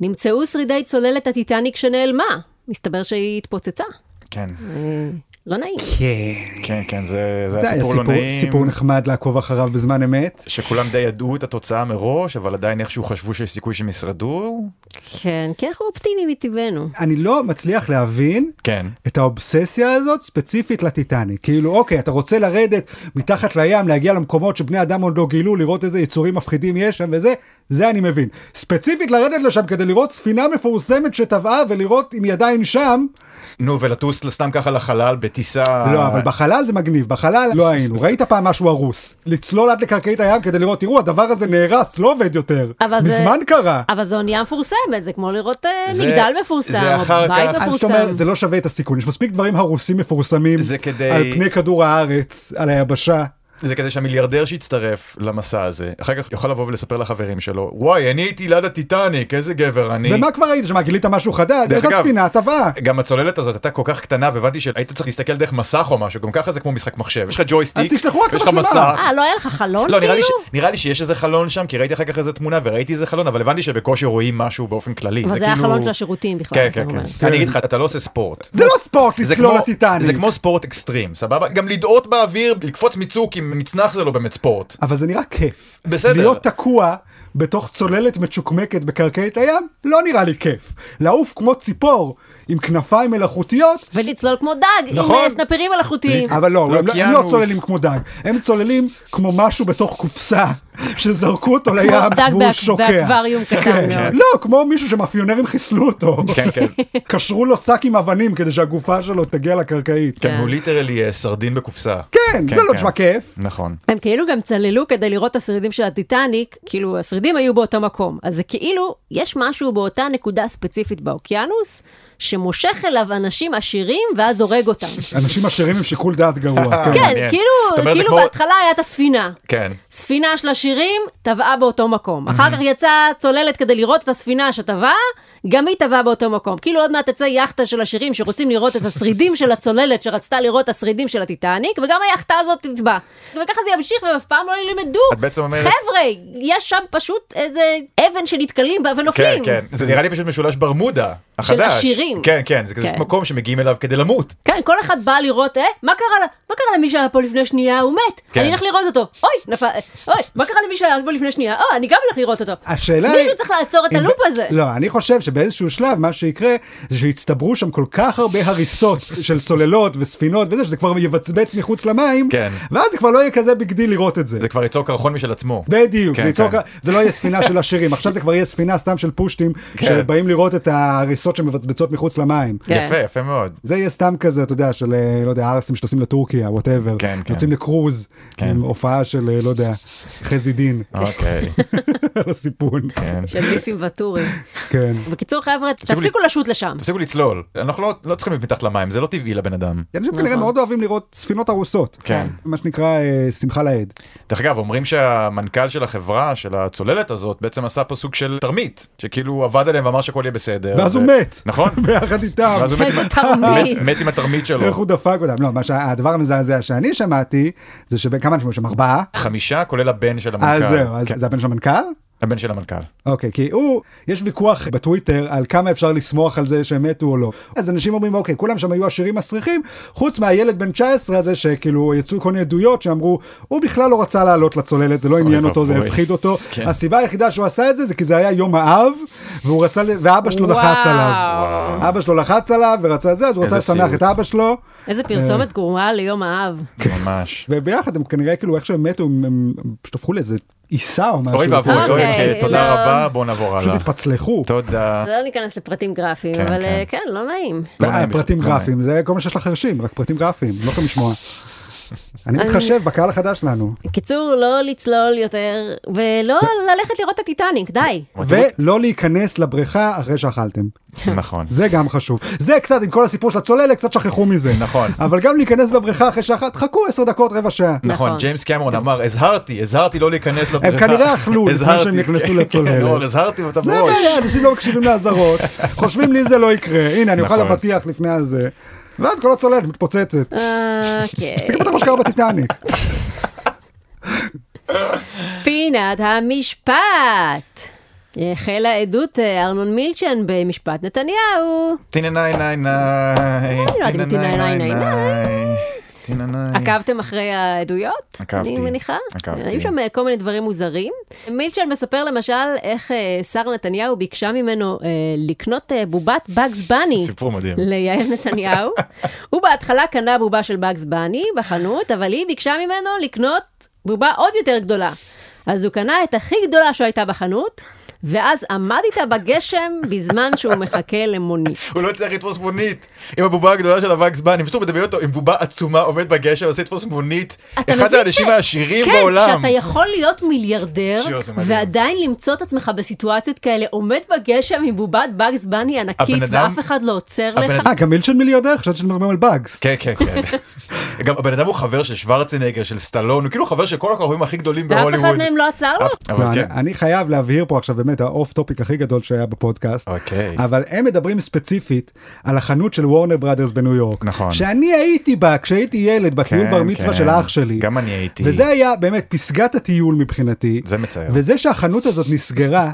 S2: נמצאו שרידי צוללת הטיטניק שנעלמה. מסתבר שהיא התפוצצה.
S3: כן.
S2: לא נעים.
S3: כן, כן, זה
S1: זה
S3: זה
S1: היה
S3: היה סיפור לא
S1: סיפור-
S3: נעים.
S1: סיפור נחמד לעקוב אחריו בזמן אמת.
S3: שכולם די ידעו את התוצאה מראש, אבל עדיין איכשהו חשבו שיש סיכוי שהם ישרדו.
S2: כן, כי אנחנו אופטימיים מטבענו.
S1: אני לא מצליח להבין
S3: כן.
S1: את האובססיה הזאת ספציפית לטיטניק. כאילו, אוקיי, אתה רוצה לרדת מתחת לים, להגיע למקומות שבני אדם עוד לא גילו, לראות איזה יצורים מפחידים יש שם וזה, זה אני מבין. ספציפית לרדת לשם כדי לראות ספינה מפורסמת שטבעה ולראות אם היא עדיין שם,
S3: נו, ולטוס סתם ככה לחלל בטיסה...
S1: לא, אבל בחלל זה מגניב, בחלל לא היינו. ראית פעם משהו הרוס. לצלול עד לקרקעית הים כדי לראות, תראו, הדבר הזה נהרס, לא עובד יותר.
S2: אבל זה-
S1: מזמן קרה.
S2: אבל זו אונייה מפורסמת, זה כמו לראות אה,
S3: זה-
S2: מגדל מפורסם,
S3: זה אחר
S2: או בית
S3: כך. אז
S1: אז אתה
S2: מפורסם.
S1: אומר, זה לא שווה את הסיכון, יש מספיק דברים הרוסים מפורסמים
S3: זה כדי-
S1: על פני כדור הארץ, על היבשה.
S3: זה כדי שהמיליארדר שיצטרף למסע הזה, אחר כך יוכל לבוא ולספר לחברים שלו, וואי, אני הייתי ליד הטיטניק, איזה גבר אני.
S1: ומה כבר ראית שם, גילית משהו חדש?
S3: דרך
S1: איך
S3: אגב-
S1: הספינה טבעה?
S3: גם הצוללת הזאת הייתה כל כך קטנה, והבנתי שהיית צריך להסתכל דרך מסך או משהו, גם ככה זה כמו משחק מחשב, יש לך ג'ויסטיק,
S1: אז תשלחו רק את
S3: ויש לך
S1: המצלמה.
S3: מסך.
S2: אה, לא היה לך חלון
S3: לא, נראה לי,
S2: כאילו?
S3: ש... נראה לי שיש איזה חלון שם, כי ראיתי אחר כך איזה תמונה וראיתי איזה חלון, אבל הבנתי שבקושי רואים משהו באופן כללי.
S2: אבל זה היה
S3: כאילו-
S2: חלון של השירותים בכלל.
S3: כן,
S2: אתה
S3: כן,
S2: אומר.
S3: כן. אני אגיד לך, אתה לא עושה ספורט.
S1: זה לא ספורט
S3: זה
S1: לצלול
S3: כמו-
S1: לטיטניק.
S3: זה כמו ספורט אקסטרים, סבבה? גם לדאות באוויר, לקפוץ מצוק עם אם מצנח זה לא באמת ספורט.
S1: אבל זה נראה כיף.
S3: בסדר.
S1: להיות תקוע בתוך צוללת מצ'וקמקת בקרקעית הים, לא נראה לי כיף. לעוף כמו ציפור עם כנפיים מלאכותיות,
S2: ולצלול כמו דג,
S3: נכון.
S2: עם אה, סנפרים מלאכותיים.
S1: אבל לא,
S3: לא,
S1: הם, לא- הם לא
S3: אוקיינוס.
S1: צוללים כמו דג, הם צוללים כמו משהו בתוך קופסה שזרקו אותו לים
S2: דג
S1: והוא
S2: באק-
S1: שוקע.
S2: באקווריום קטן
S1: כן.
S2: מאוד.
S1: לא, כמו מישהו שמאפיונרים חיסלו אותו.
S3: *laughs* כן, כן.
S1: קשרו לו שק עם אבנים כדי שהגופה שלו תגיע לקרקעית.
S3: כן, הוא ליטרלי אה, סרדין בקופסה.
S1: כן, זה לא נשמע כיף.
S3: נכון.
S2: הם כאילו גם צללו כדי לראות את השרידים של הטיטניק, כאילו השרידים היו באותו מקום. אז זה כאילו, יש משהו באותה נקודה ספציפית באוקיינוס, שמושך אליו אנשים עשירים ואז הורג אותם.
S1: אנשים עשירים עם שיקול דעת
S3: *laughs*
S1: גרוע. כן.
S2: כן,
S3: מעניין. זאת
S2: כאילו,
S3: אומרת, זה
S2: כאילו
S3: כמו-
S2: בהתחלה היה את הספינה.
S3: כן.
S2: ספינה של עשירים טבעה באותו מקום. אחר כך יצאה צוללת כדי לראות את הספינה שטבעה, גם היא טבעה באותו מקום. כאילו עוד מעט תצא יאכטה של עשירים שרוצים לראות את השרידים של הצוללת שרצתה לראות את השרידים של הטיטניק, וגם היאכטה הזאת תטבע. וככה זה ימשיך והם אף פעם לא ילמדו.
S3: את בעצם אומרת-
S2: חבר'ה, יש שם פשוט איזה אבן שנתקלים בה
S3: כן,
S2: ונופלים.
S3: כן. זה נראה לי פשוט משולש ברמודה החדש.
S2: של עשירים.
S3: כן, כן. זה כזה
S2: כן.
S3: מקום שמגיעים אליו כדי למות.
S2: כן, כל אחד בא לראות, אה, מה קרה, לה- מה קרה למי שהיה פה לפני שנייה, הוא מת,
S3: כן.
S2: אני אלך לראות אותו, אוי, נפל, אה, אוי, מה קרה למי שהיה פה לפני שנייה, אוי, אני גם אלך לראות אותו.
S1: השאלה היא...
S2: מישהו צריך לעצור את
S1: אם-
S2: הלופ הזה.
S1: לא, אני חושב שבאיזשהו שלב מה שיקרה זה שיצטברו שם כל כך הרבה הריסות של צוללות וספינות וזה, שזה כבר יבצבץ מחוץ למים,
S3: כן.
S1: ואז זה כבר לא יהיה כזה ביג דיל לראות את זה.
S3: זה כבר ייצור קרחון משל עצמו.
S1: בדיוק,
S3: כן,
S1: זה, ייצור,
S3: כן.
S1: כ- זה לא יהיה ספינה של עשירים, עכשיו זה כבר יהיה ספינה סתם של פושטים
S3: כן.
S1: שבאים לראות את ההריסות שמבצבצות מחוץ למים.
S2: כן.
S3: יפה, יפה
S1: *laughs*
S3: מאוד.
S1: זה יהיה סתם כזה, אתה יודע, של, אה, לא יודע, ערסים שטוסים לטורקיה, וואטאבר.
S3: כן, כן.
S1: יוצאים לקרוז, עם הופעה של, אה, לא יודע, חזי דין,
S3: אוקיי.
S1: *laughs* על הסיפון.
S3: כן.
S2: של ניסים ואטורי.
S1: כן.
S2: בקיצור חבר'ה,
S3: לי-
S2: תפסיקו לשוט לשם.
S3: תפסיקו לצלול. אנחנו לא- לא צריכים להיות מתחת למים, זה לא טבעי לבן אדם.
S1: אנשים כנראה
S2: נכון.
S1: מאוד אוהבים לראות ספינות הרוסות.
S3: כן.
S1: מה שנקרא אה, שמחה
S3: *laughs*
S1: לאיד.
S3: דרך אגב, אומרים שהמנכ"ל של החברה, של הצוללת הזאת, בעצם עשה פה סוג של תרמית, שכאילו הוא עבד עליהם ואמר שהכל יהיה בסדר.
S1: *laughs* ואז
S3: ו-
S1: הוא מת.
S3: נכון.
S1: ביחד איתם.
S3: ואז הוא מת עם-
S2: איזה תרמית.
S3: מת עם התרמית שלו.
S1: איך הוא דפק אותם. לא, מה שהדבר המזעזע שאני שמעתי, זה שכמה אנשים היו שם? ארבעה?
S3: חמישה, כולל הבן של המנכ"ל.
S1: אז אה, זהו, אז
S3: כן,
S1: זה הבן של המנכ"ל?
S3: הבן של המנכ"ל.
S1: אוקיי, כי הוא, יש ויכוח בטוויטר על כמה אפשר לשמוח על זה שהם מתו או לא. אז אנשים אומרים, אוקיי, כולם שם היו עשירים מסריחים, חוץ מהילד בן 19 הזה, שכאילו יצאו כל מיני עדויות שאמרו, הוא בכלל לא רצה לעלות לצוללת, זה לא עניין אותו, זה
S3: ואבוי. כן.
S1: הפחיד
S3: *laughs*
S1: אותו.
S3: מסכן.
S1: הסיבה היחידה שהוא עשה את זה, זה כי זה היה יום האב, והוא רצה, ל- ואבא שלו לחץ
S2: וואו.
S1: עליו. אבא שלו לחץ עליו ורצה זה, אז הוא רצה
S3: איזה
S1: לשמח
S3: סיוט.
S1: את אבא שלו,
S2: איזה פרסומת גרועה ליום האב.
S1: כן.
S3: ממש.
S1: וביחד הם כנראה כאילו איך שהם מתו, הם- הם פשוט הפכו לאיזה עיסה או *laughs* משהו.
S3: אוי ואבוי,
S2: אוקיי,
S3: אוי, אוקיי,
S2: לא.
S3: תודה רבה, בואו נעבור
S1: פשוט
S3: הלאה.
S1: התפצלחו.
S3: תודה.
S2: לא ניכנס לפרטים גרפיים,
S3: כן,
S2: אבל אה,
S3: כן.
S2: כן, לא נעים.
S3: לא
S1: אה,
S3: נעים בכלל,
S1: פרטים
S3: לא
S1: גרפיים, זה כל מה שיש לחרשים, רק פרטים גרפיים, לא יכולים לשמוע. אני מתחשב בקהל החדש שלנו,
S2: בקיצור, לא לצלול יותר, ולא
S1: לא.
S2: ללכת לראות את
S1: *laughs*
S2: הטיטניק, די.
S3: נעים.
S1: ולא להיכנס לבריכה אחרי שאכלתם.
S3: אוקיי, נכון.
S1: זה גם חשוב. זה קצת, עם כל הסיפור של הצוללת, קצת שכחו מזה.
S3: נכון.
S1: אבל גם להיכנס לבריכה אחרי שאכלת, חכו עשר דקות, רבע שעה.
S3: נכון,
S2: נכון.
S3: ג'יימס קמרון אמר, הזהרתי, הזהרתי לא להיכנס לבריכה.
S1: כנראה אכלו לפני
S3: הזהרתי,
S1: שהם נכנסו
S3: *laughs* כן,
S1: לצוללת.
S3: כן, אור, הזהרתי אותם
S1: זה
S3: מראש.
S1: הבעיה, אנשים לא מקשיבים
S3: *laughs*
S1: לאזהרות, חושבים לי זה לא יקרה, הנה אני אוכל
S3: נכון.
S1: אבטיח לפני הזה. ואז כל הצוללת מתפוצצת.
S2: אה, אוקיי.
S1: זה כמו מה שקרה
S3: *laughs*
S1: בטיטניק.
S2: פינת המשפט. החלה עדות אה, ארנון מילצ'ן במשפט נתניהו.
S3: טינה ניי ניי ניי.
S2: לא יודעת אם טינה ניי ניי
S3: טינה ניי.
S2: עקבתם אחרי העדויות?
S3: עקבתי.
S2: אני מניחה.
S3: עקבתי.
S2: היו שם אה, כל מיני דברים מוזרים. מילצ'ן מספר למשל איך אה, שרה נתניהו ביקשה ממנו אה, לקנות אה, בובת באגז
S3: זה
S2: בני.
S3: סיפור מדהים.
S2: ליעל
S3: *laughs*
S2: נתניהו. הוא בהתחלה קנה בובה של באגז בני בחנות, אבל היא ביקשה ממנו לקנות בובה עוד יותר גדולה. אז הוא קנה את הכי גדולה שהייתה בחנות, ואז עמד איתה בגשם בזמן שהוא מחכה למונית.
S3: הוא לא הצליח לתפוס מונית עם הבובה הגדולה של הוואקס בן, אני פשוט מדמיין אותו עם בובה עצומה עומד בגשר עושה לתפוס מונית.
S2: אתה
S3: אחד
S2: מבין
S3: האנשים
S2: ש-
S3: העשירים
S2: כן,
S3: בעולם.
S2: שאתה יכול להיות מיליארדר,
S3: שיו, זה מדהים.
S2: ועדיין למצוא את עצמך בסיטואציות כאלה, עומד בגשם עם בובת באגז בני ענקית,
S3: הבן אדם-
S2: ואף אחד לא עוצר
S3: הבן
S2: לך.
S3: אדם-
S1: אה, גם מילצ'ן מיליארדר? חשבתי שמדברים על באגס.
S3: כן כן כן. *laughs* גם הבן אדם הוא חבר של שוורצנגר של סטלון הוא כאילו חבר של כל הכוכבים הכי גדולים
S2: ואף אחד
S3: בהוליווד.
S2: מהם לא עצר לו?
S3: אף- אבל
S1: לא, אני,
S3: כן.
S1: אני חייב להבהיר פה עכשיו באמת האוף טופיק הכי גדול שהיה בפודקאסט
S3: אוקיי.
S1: אבל הם מדברים ספציפית על החנות של וורנר בראדרס בניו יורק
S3: נכון.
S1: שאני הייתי בה כשהייתי ילד בטיול
S3: כן,
S1: בר מצווה
S3: כן.
S1: של אח שלי
S3: גם אני הייתי.
S1: וזה היה באמת פסגת הטיול מבחינתי
S3: זה מצער.
S1: וזה שהחנות הזאת נסגרה.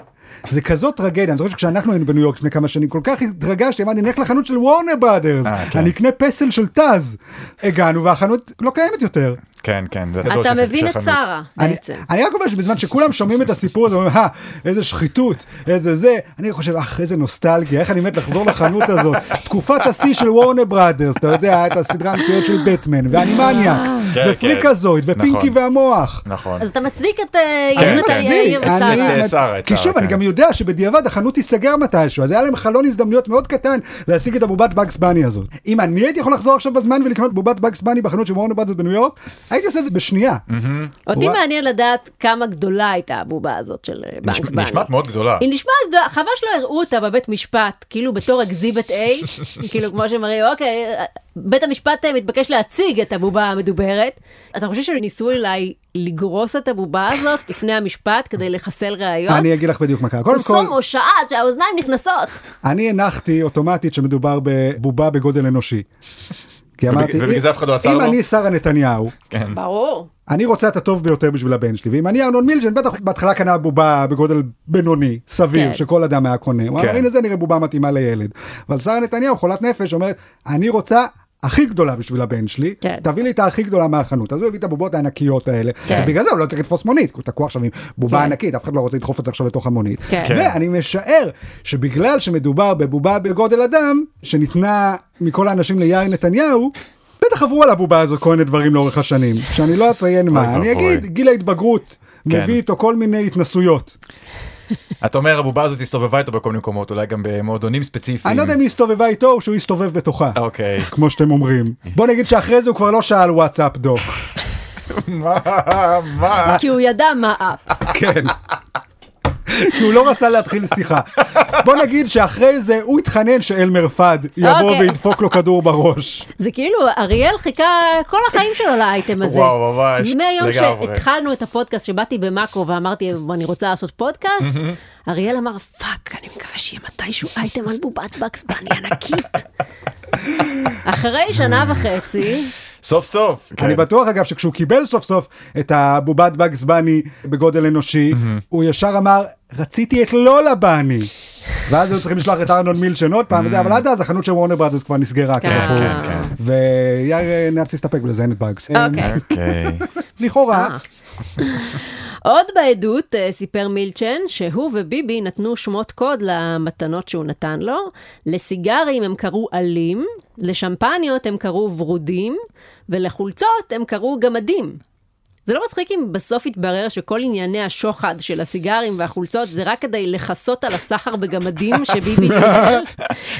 S1: זה כזאת טרגדיה, אני זוכר שכשאנחנו היינו בניו יורק לפני כמה שנים, כל כך התרגשתי, אמרתי, נלך לחנות של וורנר בראדרס,
S3: אה, כן.
S1: אני אקנה פסל של טאז. הגענו והחנות לא קיימת יותר.
S3: כן, כן, זה הדור
S2: אתה
S3: של-
S2: מבין
S3: של
S2: את
S3: חנות.
S2: שרה
S1: אני,
S2: בעצם.
S1: אני רק אומר שבזמן שכולם שומעים את הסיפור הזה, אומרים, אה, איזה שחיתות, איזה זה, אני חושב, אך, איזה נוסטלגיה, איך אני מת לחזור לחנות
S2: *laughs*
S1: הזאת. תקופת השיא של וורנר בראדרס, אתה יודע, את הסדרה המצוינת של בטמן, ואנימניאקס,
S2: אה.
S3: כן,
S1: ופריקזויד,
S3: כן.
S1: ופינקי
S3: נכון.
S1: והמוח.
S3: נכון.
S2: אז אתה מצדיק את אה,
S3: כן,
S2: יונתן
S3: מצדיק.
S2: יאיר
S1: אני-
S2: ושרה.
S3: את, אה, שרה, את
S1: כי
S3: שרה,
S1: שוב, אני
S3: כן.
S1: גם יודע שבדיעבד החנות תיסגר מתישהו, אז היה להם חלון הזדמנויות מאוד קטן להשיג את הבובת בגס בני הזאת. אם אני הייתי יכול לחזור עכשיו בזמן ולקנות בובת בגס בני בחנות של וורנר בראדרס בניו יורק, הייתי עושה את זה בשנייה.
S2: אותי
S1: וואי.
S2: מעניין לדעת כמה גדולה הייתה הבובה הזאת של אה, בנקס
S3: נשמע-
S2: בני.
S3: נשמעת מאוד גדולה.
S2: היא נשמעת גדולה, חבל שלא הראו אותה בבית משפט, כאילו בתור אקזיבט A,
S1: *laughs*
S2: כאילו כמו שמראים, אוקיי, בית המשפט אה, מתבקש להציג את הבובה המדוברת. אתה חושב שניסו אולי לגרוס את הבובה הזאת לפני המשפט כדי לחסל ראיות?
S1: אני אגיד לך בדיוק מה קרה. קודם כל,
S2: פרסום או שעה עד שהאוזניים נכנסות.
S1: אני הנחתי אוטומטית שמדובר בבובה בגודל אנושי. כי אמרתי,
S3: ובגלל זה אף אחד לא עצר
S1: אם
S3: לו?"
S1: אני שרה נתניהו,
S3: כן.
S2: ברור.
S1: אני רוצה את הטוב ביותר בשביל הבן שלי, ואם אני ארנון מילג'ן, בטח בהתחלה קנה בובה בגודל בינוני, סביר,
S2: כן.
S1: שכל אדם היה קונה. הוא אמר,
S3: כן.
S1: הנה זה נראה בובה מתאימה לילד. אבל שרה נתניהו, חולת נפש, אומרת, אני רוצה... הכי גדולה בשביל הבן שלי,
S2: כן.
S1: תביא לי את הכי גדולה מהחנות. אז הוא הביא את הבובות הענקיות האלה,
S2: כן.
S1: ובגלל זה הוא לא צריך לתפוס מונית, כי הוא תקוע עכשיו עם בובה
S2: כן.
S1: ענקית, אף אחד לא רוצה לדחוף את זה עכשיו לתוך המונית.
S2: כן.
S3: כן.
S1: ואני משער שבגלל שמדובר בבובה בגודל אדם, שניתנה מכל האנשים ליאיר נתניהו, בטח עברו על הבובה הזאת כל מיני דברים לאורך השנים, שאני לא אציין מה, אני
S3: ואבוי. כן.
S1: אגיד, גיל ההתבגרות מביא איתו כל מיני התנסויות.
S3: Mm. אתה אומר הבובה הזאת הסתובבה איתו בכל מיני מקומות, אולי גם במועדונים ספציפיים.
S1: אני לא יודע אם היא הסתובבה איתו או שהוא הסתובב בתוכה,
S3: אוקיי.
S1: *laughs* כמו שאתם אומרים. בוא נגיד שאחרי זה הוא כבר לא שאל וואטסאפ
S3: *laughs*
S1: דוק.
S3: מה? מה?
S2: כי הוא ידע מה אפ.
S1: כן. כי הוא לא רצה להתחיל שיחה. בוא נגיד שאחרי זה הוא התחנן שאלמר פאד יבוא
S2: אוקיי.
S1: וידפוק לו כדור בראש.
S2: זה כאילו, אריאל חיכה כל החיים שלו לאייטם הזה.
S3: וואו, ממש,
S2: מהיום
S3: לגמרי.
S2: שהתחלנו את הפודקאסט, שבאתי במאקו ואמרתי, אני רוצה לעשות פודקאסט, אריאל אמר, פאק, אני מקווה שיהיה מתישהו אייטם על בובת בקס בני ענקית.
S3: *laughs*
S2: אחרי שנה וחצי,
S3: סוף סוף. כן.
S1: אני בטוח אגב שכשהוא קיבל סוף סוף את הבובת בגס בני בגודל אנושי, הוא ישר אמר, רציתי את לולה בני. ואז היו צריכים לשלוח את ארנון מילשן עוד פעם וזה, אבל עד אז החנות של וורנר בראדרס כבר נסגרה
S2: כן,
S1: כזכור.
S3: כן, כן.
S1: ויאיר אה, נאלץ להסתפק בזה, אין את באגס.
S2: אוקיי. אה,
S3: אוקיי.
S1: לכאורה,
S2: עוד בעדות אה, סיפר מילצ'ן שהוא וביבי נתנו שמות קוד למתנות שהוא נתן לו. לסיגרים הם קראו עלים, לשמפניות הם קראו ורודים, ולחולצות הם קראו גמדים. זה לא מצחיק אם בסוף יתברר שכל ענייני השוחד של הסיגרים והחולצות זה רק כדי לכסות על הסחר בגמדים שביבי נתן.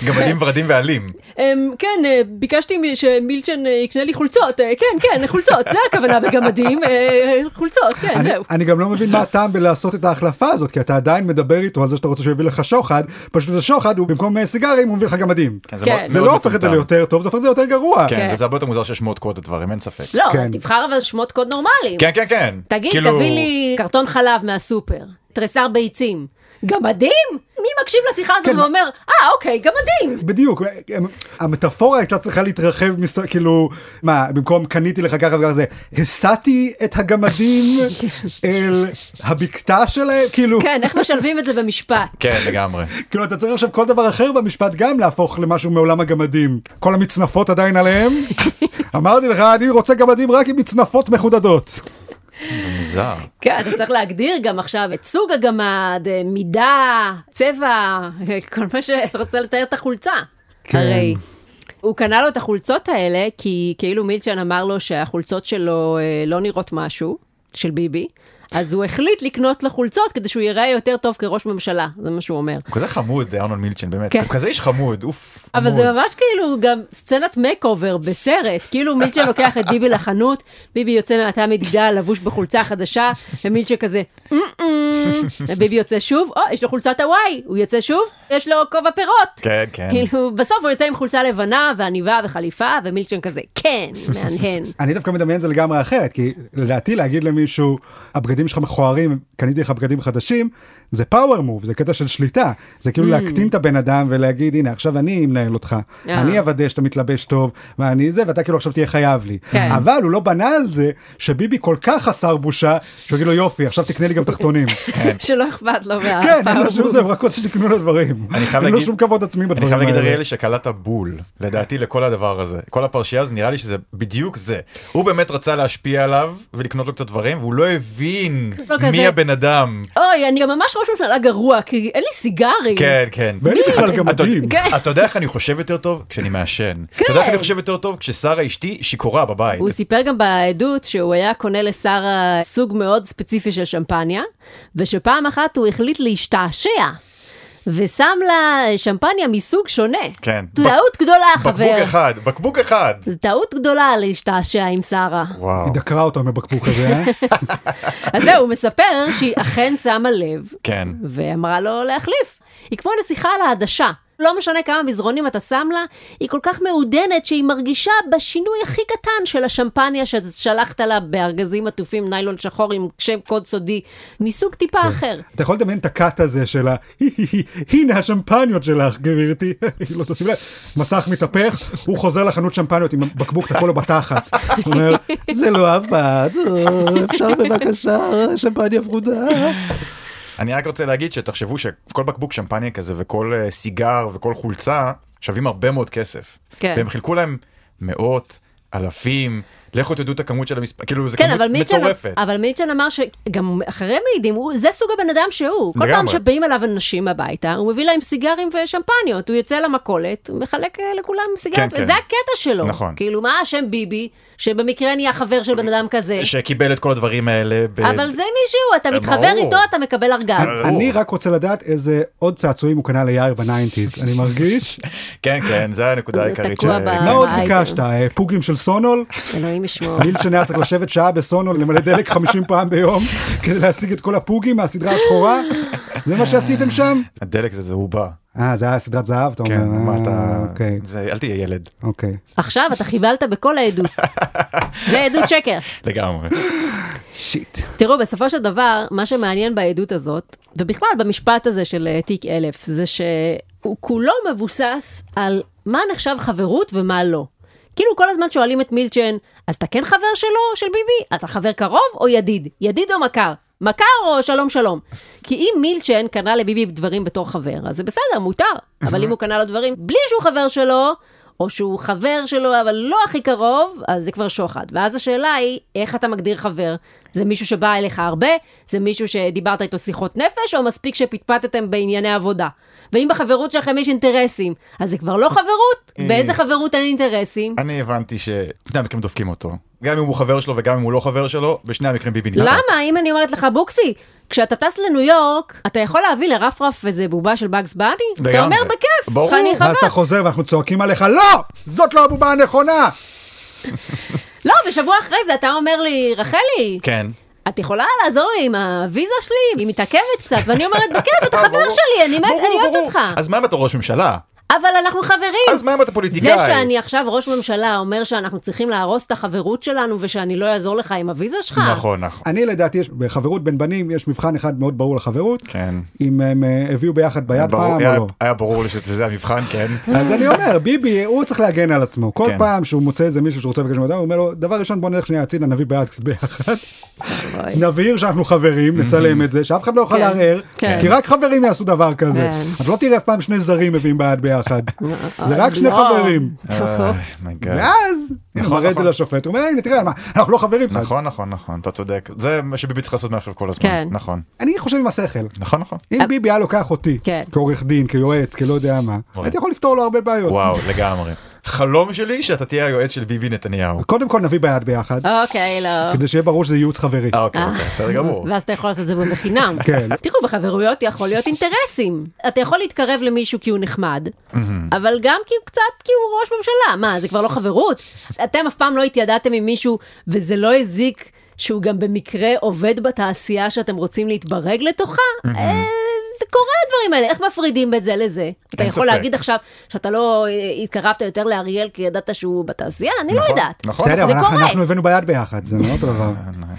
S3: גמדים ורדים ועלים.
S2: אמ, כן, אה, ביקשתי מ- שמילצ'ן אה, יקנה לי חולצות. אה, כן, כן, חולצות, זה הכוונה בגמדים, אה, חולצות, כן,
S1: אני-
S2: זהו.
S1: אני גם לא מבין מה הטעם בלעשות את ההחלפה הזאת, כי אתה עדיין מדבר איתו על זה שאתה רוצה שהוא יביא לך שוחד, פשוט השוחד הוא במקום אה, סיגרים הוא מביא לך גמדים.
S3: כן,
S2: כן.
S3: מאוד-
S1: זה
S3: מאוד
S1: לא הופך את זה
S3: מטומטם.
S1: ליותר טוב, זה הופך את זה ליותר גרוע.
S3: כן,
S2: כן.
S3: זה- זה הרבה יותר מוזר שיש שמות קוד לדברים, אין ספק.
S2: לא,
S1: כן.
S2: כן. תבחר אבל שמות קוד נורמליים.
S3: כן, כן, כן.
S2: תגיד,
S3: כאילו-
S2: תביא לי קרטון חלב מהסופר, תריסר ביצים. גמדים? מי מקשיב לשיחה הזאת
S1: כן, מה-
S2: ואומר, אה, אוקיי, גמדים.
S1: בדיוק, הם- המטאפורה הייתה צריכה להתרחב, מס- כאילו, מה, במקום קניתי לך ככה וככה זה, הסעתי את הגמדים אל הבקתה שלהם, כאילו,
S2: כן, איך משלבים את זה במשפט?
S3: כן, לגמרי.
S1: כאילו אתה צריך עכשיו כל דבר אחר במשפט גם להפוך למשהו מעולם הגמדים. כל המצנפות עדיין עליהם? אמרתי לך, אני רוצה גמדים רק עם מצנפות מחודדות.
S3: זה מוזר.
S2: כן, אתה צריך להגדיר גם עכשיו את סוג הגמד, אה, מידה, צבע, אה, כל מה שאתה רוצה לתאר את החולצה.
S1: כן.
S2: הרי. הוא קנה לו את החולצות האלה, כי כאילו מילצ'ן אמר לו שהחולצות שלו אה, לא נראות משהו, של ביבי, אז הוא החליט לקנות לו חולצות כדי שהוא ייראה יותר טוב כראש ממשלה, זה מה שהוא אומר.
S3: הוא כזה חמוד, ארנון מילצ'ן, באמת.
S2: כן.
S3: הוא כזה איש חמוד, אוף.
S2: אבל
S3: חמוד.
S2: זה ממש כאילו גם סצנת מקאובר בסרט, כאילו מילצ'ן לוקח את ביבי לחנות, ביבי יוצא מהתא מדידה לבוש בחולצה חדשה, ומילצ'ן כזה, "אמ-אמ". ביבי יוצא שוב, או, יש לו חולצת הוואי, הוא יוצא שוב, יש לו כובע פירות.
S3: כן, כן.
S2: כאילו, בסוף הוא יוצא עם חולצה לבנה ועניבה וחליפה, ומילצ'ן כזה, כן, מהנהן.
S1: אני דווקא מדמיין את זה לגמרי אחרת, כי לדעתי להגיד למישהו, הבגדים שלך מכוערים, קניתי לך בגדים חדשים, זה פאוור מוב, זה קטע של שליטה. זה
S2: Mm.
S1: כאילו להקטין את הבן אדם ולהגיד, הנה, עכשיו אני מנהל אותך.
S2: אה.
S1: אני אוודא שאתה מתלבש טוב, ואני זה, ואתה כאילו עכשיו תהיה חייב לי.
S2: כן. *laughs*
S1: אבל הוא לא בנה על זה שביבי כל כך חסר בושה, שהוא יגיד לו, יופי, עכשיו תקנה לי גם תחתונים.
S3: *laughs*
S2: אה,
S3: כן. לא
S2: שלא אכפת לו מהפעם.
S1: כן, אין לו שום זה, הוא רק רוצה שתקנו לו דברים.
S3: אני חייב
S1: אין לו
S3: להגיד-
S1: שום כבוד עצמי
S3: אני
S1: בדברים
S3: חייב
S1: האלה.
S3: להגיד אריאל שקלעת בול, לדעתי, לכל הדבר הזה. כל הפרשייה הזו, נראה לי שזה בדיוק זה. הוא באמת רצה להשפיע עליו ולקנות לו קצת דברים, והוא לא הבין
S2: לא
S3: מי
S2: כזה. כאילו-
S3: הבן אדם.
S2: אוי, אני גם ממש ראש ממשלה גרוע, כי אין לי סיגרים.
S3: כן, כן.
S1: ואין לי
S2: מי?
S1: בכלל גם
S3: אתה-
S1: מדהים.
S2: כן.
S3: אתה יודע איך אני חושב יותר טוב? כשאני מעשן. אתה יודע איך אני חושב יותר טוב? כששרה אשתי שיכורה בבית.
S2: הוא סיפר גם בעדות שהוא היה קונה לשרה סוג מאוד ספציפי של שמפניה, ושפעם אחת הוא החליט להשתעשע, ושם לה שמפניה מסוג שונה.
S3: כן.
S2: טעות גדולה,
S3: בקבוק
S2: חבר.
S3: אחד, בקבוק אחד.
S2: זו טעות גדולה להשתעשע עם שרה.
S3: וואו.
S1: היא דקרה אותו מהבקבוק הזה, אה?
S2: *laughs* אז זהו, הוא מספר שהיא אכן שמה לב,
S3: כן.
S2: ואמרה לו להחליף. היא כמו נסיכה על העדשה. לא משנה כמה מזרונים אתה שם לה, היא כל כך מעודנת שהיא מרגישה בשינוי הכי קטן של השמפניה ששלחת לה בארגזים עטופים ניילון שחור עם שם קוד סודי מסוג טיפה אחר.
S1: אתה יכול לדמיין את הקאט הזה של ה... *laughs* הנה השמפניות שלך, *laughs* גברתי. לא תשים לב. מסך מתהפך, הוא חוזר לחנות שמפניות עם בקבוק תקוע לו בתחת. הוא אומר, זה לא עבד, אה, אפשר בבקשה שמפניה ורודה.
S3: אני רק רוצה להגיד שתחשבו שכל בקבוק שמפניה כזה וכל אה, סיגר וכל חולצה שווים הרבה מאוד כסף.
S2: כן.
S3: והם חילקו להם מאות, אלפים, לכו תדעו את הכמות של המספר, כאילו זה
S2: כן,
S3: כמות
S2: אבל מילצ'ן,
S3: מטורפת.
S2: אבל מילצ'ן אמר שגם אחרי מעידים, הוא, זה סוג הבן אדם שהוא. כל פעם
S3: לגמרי.
S2: שבאים אליו אנשים הביתה, הוא מביא להם סיגרים ושמפניות, הוא יוצא למכולת, הוא מחלק אה, לכולם סיגריות,
S3: כן, כן.
S2: וזה הקטע שלו.
S3: נכון.
S2: כאילו, מה השם ביבי, שבמקרה נהיה חבר של בן אדם כזה,
S3: שקיבל את כל הדברים האלה. ב...
S2: אבל זה מישהו, אתה
S3: אה,
S2: מתחבר
S3: ברור.
S2: איתו, אתה מקבל ארגז.
S3: ברור.
S1: אני רק רוצה לדעת איזה עוד צעצועים הוא קנה ליאיר בניינטיז. אני מרגיש.
S3: כן, כן, זה הנקודה
S2: הוא
S3: העיקרית.
S2: תקוע
S3: ש-
S2: ב-
S1: מה עוד
S2: האייטם.
S1: ביקשת? אה, פוגים של סונול?
S2: אלוהים ישמור.
S1: מילצ'ן היה צריך לשבת שעה בסונול למלא דלק 50 פעם ביום כדי להשיג את כל הפוגים מהסדרה השחורה? זה מה שעשיתם שם?
S3: הדלק זה זה הוא בא.
S1: אה, זה היה סדרת זהב, אתה אומר.
S3: כן, מה
S1: אה,
S3: אתה...
S1: אוקיי,
S3: זה- אל תהיה ילד.
S1: אוקיי.
S2: עכשיו אתה חיבלת בכל
S3: *laughs*
S2: העדות. זה עדות שקר.
S3: לגמרי.
S1: שיט.
S2: תראו, בסופו של דבר, מה שמעניין בעדות הזאת, ובכלל במשפט הזה של אה, תיק אלף, זה שהוא כולו מבוסס על מה נחשב חברות ומה לא. כאילו כל הזמן שואלים את מילצ'ן, אז אתה כן חבר שלו, של ביבי? אתה חבר קרוב או ידיד? ידיד או מכר? מכר או שלום שלום? כי אם מילצ'ן קנה לביבי דברים בתור חבר, אז זה בסדר, מותר. אבל אם הוא קנה לו דברים בלי שהוא חבר שלו, או שהוא חבר שלו אבל לא הכי קרוב, אז זה כבר שוחד. ואז השאלה היא, איך אתה מגדיר חבר? זה מישהו שבא אליך הרבה? זה מישהו שדיברת איתו שיחות נפש? או מספיק שפטפטתם בענייני עבודה? ואם בחברות שלכם יש אינטרסים, אז זה כבר לא חברות? באיזה חברות אין אינטרסים?
S3: אני הבנתי ששני המקרים דופקים אותו. גם אם הוא חבר שלו וגם אם הוא לא חבר שלו, בשני המקרים ביבי נדחה.
S2: למה? אם אני אומרת לך, בוקסי, כשאתה טס לניו יורק, אתה יכול להביא לרפרף איזה בובה של באגס באני? אתה
S3: לגמרי.
S2: אומר בכיף,
S3: ברור.
S2: חניך
S1: ואז
S2: הבא.
S1: אתה חוזר ואנחנו צועקים עליך, לא! זאת לא הבובה הנכונה!
S2: לא, ושבוע אחרי זה אתה אומר לי, רחלי,
S3: כן.
S2: את יכולה לעזור לי עם הוויזה שלי? היא מתעכבת קצת, ואני אומרת, בכיף, אתה חבר
S3: *laughs* ברור.
S2: שלי, אני מת-
S3: ברור,
S2: אני אוהבת
S3: ברור.
S2: אותך.
S3: אז מה אם אתה ראש ממשלה?
S2: אבל אנחנו חברים.
S3: אז מה אם אתה
S2: זה
S3: פוליטיקאי?
S2: שאני עכשיו ראש ממשלה אומר שאנחנו צריכים להרוס את החברות שלנו ושאני לא אעזור לך עם הוויזה שלך?
S3: נכון, נכון.
S1: אני לדעתי, יש בחברות בין בנים, יש מבחן אחד מאוד ברור לחברות,
S3: כן.
S1: אם הם אה, הביאו ביחד ביד
S3: ברור-
S1: פעם או
S3: היה-
S1: לא.
S3: היה ברור לי שזה המבחן, כן.
S2: *laughs*
S1: אז אני אומר, ביבי, הוא צריך להגן על עצמו. כל
S3: כן.
S1: פעם שהוא מוצא איזה מישהו שרוצה לבקש מאדם, הוא אומר לו, דבר ראשון, בוא נלך שנייה הצידה, נביא ביד *laughs* קצת ביחד.
S2: אוי.
S1: נבהיר שאנחנו
S3: *laughs*
S1: חברים, נצלם את זה, שאף אחד לא יוכל
S2: כן,
S1: לערער,
S2: כן.
S1: כי רק חברים יעשו דבר כזה.
S2: כן.
S1: אז לא תראה אף פעם שני זרים מביאים ביד ביחד. זה רק שני
S2: לא.
S1: חברים.
S3: איי, אה, my God.
S1: ואז, הנה, הוא
S3: כן. נכון,
S1: מראה את זה
S3: נכון.
S1: לשופט, הוא אומר, הנה, תראה, מה, אנחנו לא חברים שלך.
S3: נכון, נכון, נכון, אתה צודק. זה מה שביבי צריך לעשות מעכשיו כל
S2: כן.
S3: הזמן. נכון.
S1: אני חושב עם השכל.
S3: נכון, נכון.
S1: אם ביבי היה לוקח אותי,
S2: כן.
S1: כעורך דין, כיועץ, כלא יודע מה,
S3: אוי.
S1: הייתי יכול לפתור לו הרבה בעיות.
S3: נכון. וואו, לגמרי. חלום שלי שאתה תהיה היועץ של ביבי נתניהו.
S1: קודם כל נביא ביד ביחד,
S2: אוקיי, לא.
S1: כדי שיהיה ברור שזה ייעוץ חברי.
S3: אה, אוקיי, אוקיי, בסדר גמור.
S2: ואז אתה יכול לעשות את זה בחינם.
S1: כן.
S2: תראו, בחברויות יכול להיות אינטרסים. אתה יכול להתקרב למישהו כי הוא נחמד, אבל גם כי הוא קצת, כי הוא ראש ממשלה. מה, זה כבר לא חברות? אתם אף פעם לא התיידעתם עם מישהו וזה לא הזיק שהוא גם במקרה עובד בתעשייה שאתם רוצים להתברג לתוכה? אה, זה קורה הדברים האלה, איך מפרידים את זה לזה? אתה יכול
S3: ספק.
S2: להגיד עכשיו שאתה לא אה, התקרבת יותר לאריאל כי ידעת שהוא בתעשייה? אני לא
S3: נכון,
S2: יודעת.
S3: נכון.
S1: בסדר, אבל
S2: זה
S1: אנחנו-
S2: קורה.
S1: אנחנו הבאנו ביד ביחד, זה מאוד אותו דבר.
S3: אה,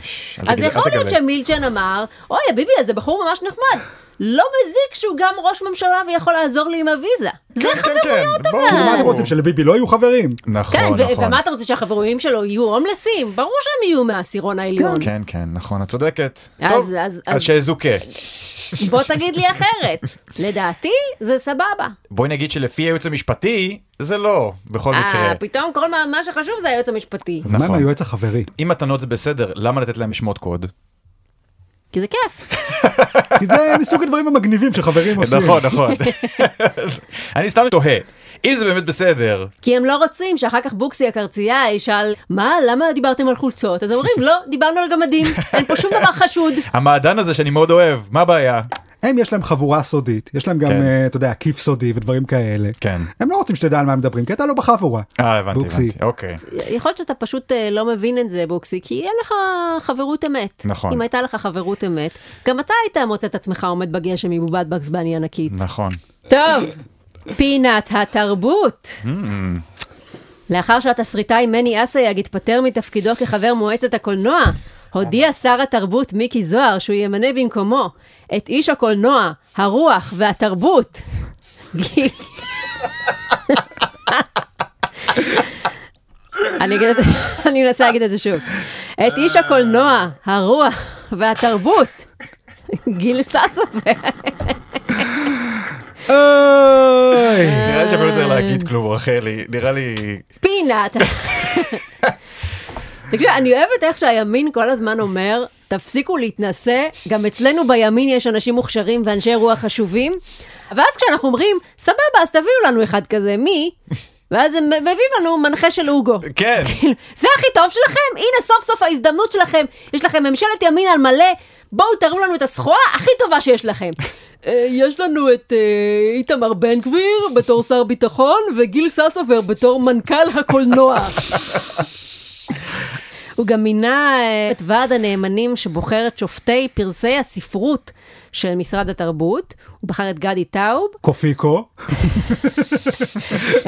S3: ש- אל
S2: אז
S3: תגלה- אל
S2: יכול להיות
S3: תגלה.
S2: שמילצ'ן אמר, אוי, הביבי הזה בחור ממש נחמד. לא מזיק שהוא גם ראש ממשלה ויכול לעזור לי עם הוויזה. זה
S3: כן, כן, כן, ברור.
S1: כאילו,
S2: אה.
S1: מה אתם רוצים, שלביבי לא יהיו חברים?
S2: כן,
S3: נכון,
S2: ו-
S3: נכון.
S2: ומה אתה רוצה שהחברים שלו יהיו הומלסים? ברור שהם יהיו מהעשירון העליון.
S3: כן, כן, נכון, את צודקת.
S2: אז-
S3: טוב,
S2: אז-
S3: אז
S2: אז-
S3: שיזוכה. כן.
S2: בוא תגיד לי אחרת. לדעתי זה סבבה.
S3: בואי נגיד שלפי הייעוץ המשפטי, זה לא, בכל מקרה.
S2: אה, פתאום כל מה- מה שחשוב זה היועץ המשפטי.
S1: מה עם
S3: נכון.
S1: היועץ החברי?
S3: אם מתנות זה בסדר, למה לתת להם שמות קוד?
S2: כי זה כיף.
S1: כי זה מסוג הדברים המגניבים
S3: *laughs*
S1: שחברים עושים.
S3: נכון, נכון. אני סתם תוהה, אם זה באמת בסדר,
S2: כי הם לא רוצים שאחר כך בוקסי הקרצייה ישאל, מה, למה דיברתם על חולצות? אז אומרים, לא, דיברנו על גמדים, אין פה שום דבר חשוד.
S3: המעדן הזה שאני מאוד אוהב, מה הבעיה?
S1: הם יש להם חבורה סודית, יש להם גם,
S3: כן.
S1: אה, אתה יודע, כיף סודי ודברים כאלה.
S3: כן.
S1: הם לא רוצים שתדע על מה הם מדברים, כי אתה לא בחבורה.
S3: אה, הבנתי,
S1: בוקסי.
S3: הבנתי, אוקיי.
S2: יכול להיות שאתה פשוט אה, לא מבין את זה, בוקסי, כי אין לך חברות אמת.
S3: נכון.
S2: אם הייתה לך חברות אמת, גם אתה היית מוצא את עצמך עומד בגשם עם בובת בגזבני ענקית.
S3: נכון.
S2: טוב, פינת התרבות. לאחר שהתסריטאי מני אסייג התפטר מתפקידו כחבר מועצת הקולנוע, הודיע שר התרבות מיקי זוהר שהוא ימנה במקומו את איש הקולנוע, הרוח והתרבות. גיל- אני אגיד את זה, אני מנסה להגיד את זה שוב. את איש הקולנוע, הרוח והתרבות, גיל ססובר.
S1: אוי!
S3: *laughs* נראה לי שאפילו לא צריך להגיד כלום, רחלי, נראה לי...
S2: פינת. תקשיב, אני אוהבת איך שהימין כל הזמן אומר, תפסיקו להתנשא, גם אצלנו בימין יש אנשים מוכשרים ואנשי רוח חשובים, ואז כשאנחנו אומרים, סבבה, אז תביאו לנו אחד כזה, מי? ואז הם מביאים לנו מנחה של אוגו. *laughs*
S3: כן.
S2: כאילו, זה הכי טוב שלכם? הנה סוף סוף ההזדמנות שלכם. יש לכם ממשלת ימין על מלא, בואו תראו לנו את הסחורה הכי טובה שיש לכם. אה, יש לנו את אה, איתמר בן גביר בתור שר ביטחון, וגיל ססובר בתור מנכ"ל הקולנוע. *laughs* הוא גם מינה אה, את ועד הנאמנים שבוחר את שופטי פרסי הספרות של משרד התרבות. הוא בחר את גדי טאוב,
S1: קופיקו,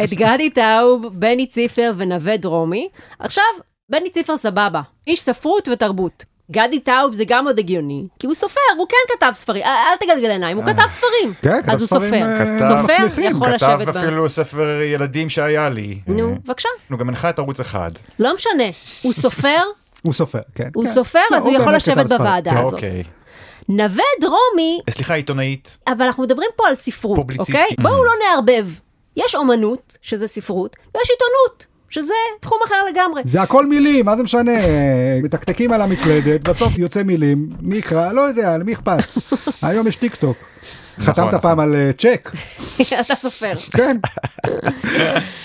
S2: את גדי טאוב, בני ציפר ונווה דרומי. עכשיו, בני ציפר סבבה, איש ספרות ותרבות. גדי טאוב זה גם עוד הגיוני, כי הוא סופר, הוא כן כתב ספרים, אל- אל תגלגל עיניים, הוא כתב ספרים.
S1: כן, כתב
S2: אז הוא
S1: ספרים,
S2: סופר.
S1: אה,
S3: כתב-
S2: סופר
S1: מצליחים,
S2: יכול
S3: כתב
S2: לשבת ב...
S3: אפילו ספר ילדים שהיה לי.
S1: אה,
S2: נו, בבקשה,
S3: הוא גם הנחה את ערוץ אחד.
S2: לא משנה. הוא
S1: *laughs*
S2: סופר,
S1: הוא סופר, כן.
S2: הוא
S1: כן.
S2: סופר,
S1: לא,
S2: אז הוא יכול
S1: באמת כתב
S2: לשבת
S1: ספרים.
S2: בוועדה
S1: כן.
S2: הזאת.
S3: אוקיי.
S2: נווה דרומי,
S3: אה, סליחה, עיתונאית.
S2: אבל אנחנו מדברים פה על ספרות,
S3: פובליציסטית.
S2: אוקיי? בואו לא נערבב. יש אומנות, שזה ספרות, ויש עיתונות, שזה תחום אחר
S1: *laughs*
S2: לגמרי.
S1: זה הכל מילים, מה זה משנה? אה, מתקתקים על המקלדת, בסוף יוצא מילים, מי יקרא? לא יודע, למי
S2: *laughs*
S1: אכפת? היום יש טיק טוק. חתמת
S3: נכון.
S1: פעם על אה, צ'ק?
S2: אתה סופר.
S1: כן.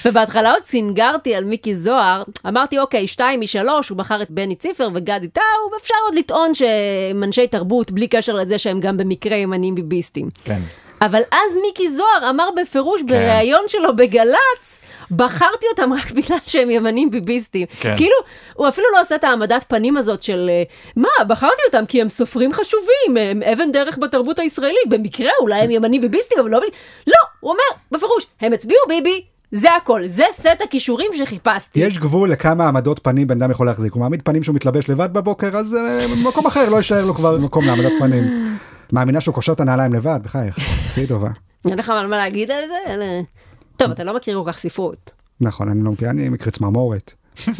S2: ובהתחלה עוד סינגרתי על מיקי זוהר, אמרתי, אוקיי, שתיים משלוש, הוא בחר את בני ציפר וגדי טאוב, אפשר עוד לטעון שהם אנשי תרבות, בלי קשר לזה שהם גם במקרה ימנים ביביסטים.
S3: כן.
S2: אבל אז מיקי זוהר אמר
S1: כן.
S2: בפירוש בריאיון שלו בגל"צ, בחרתי אותם רק בגלל שהם ימנים ביביסטים.
S3: כן.
S2: כאילו, הוא אפילו לא עושה את העמדת פנים הזאת של, אה, מה, בחרתי אותם כי הם סופרים חשובים, הם אבן דרך בתרבות הישראלית, במקרה אולי הם ימנים ביביסטים, אבל לא... ב- לא, הוא אומר, בפירוש, הם הצביעו ביבי, זה הכל, זה סט הכישורים שחיפשתי.
S1: יש גבול לכמה עמדות פנים בן אדם יכול להחזיק. הוא מעמיד פנים שהוא מתלבש לבד בבוקר, אז אה, במקום אחר לא יישאר לו כבר מקום לעמדת
S2: *laughs*
S1: פנים. מאמינה שהוא קושר את הנעליים לבד? בחייך, עשי טובה.
S2: אין לך מה מה להגיד על זה? אלה- טוב, אתה לא מכיר כל כך ספרות.
S1: נכון, אני לא מכיר, אני מקרה צמרמורת. אה,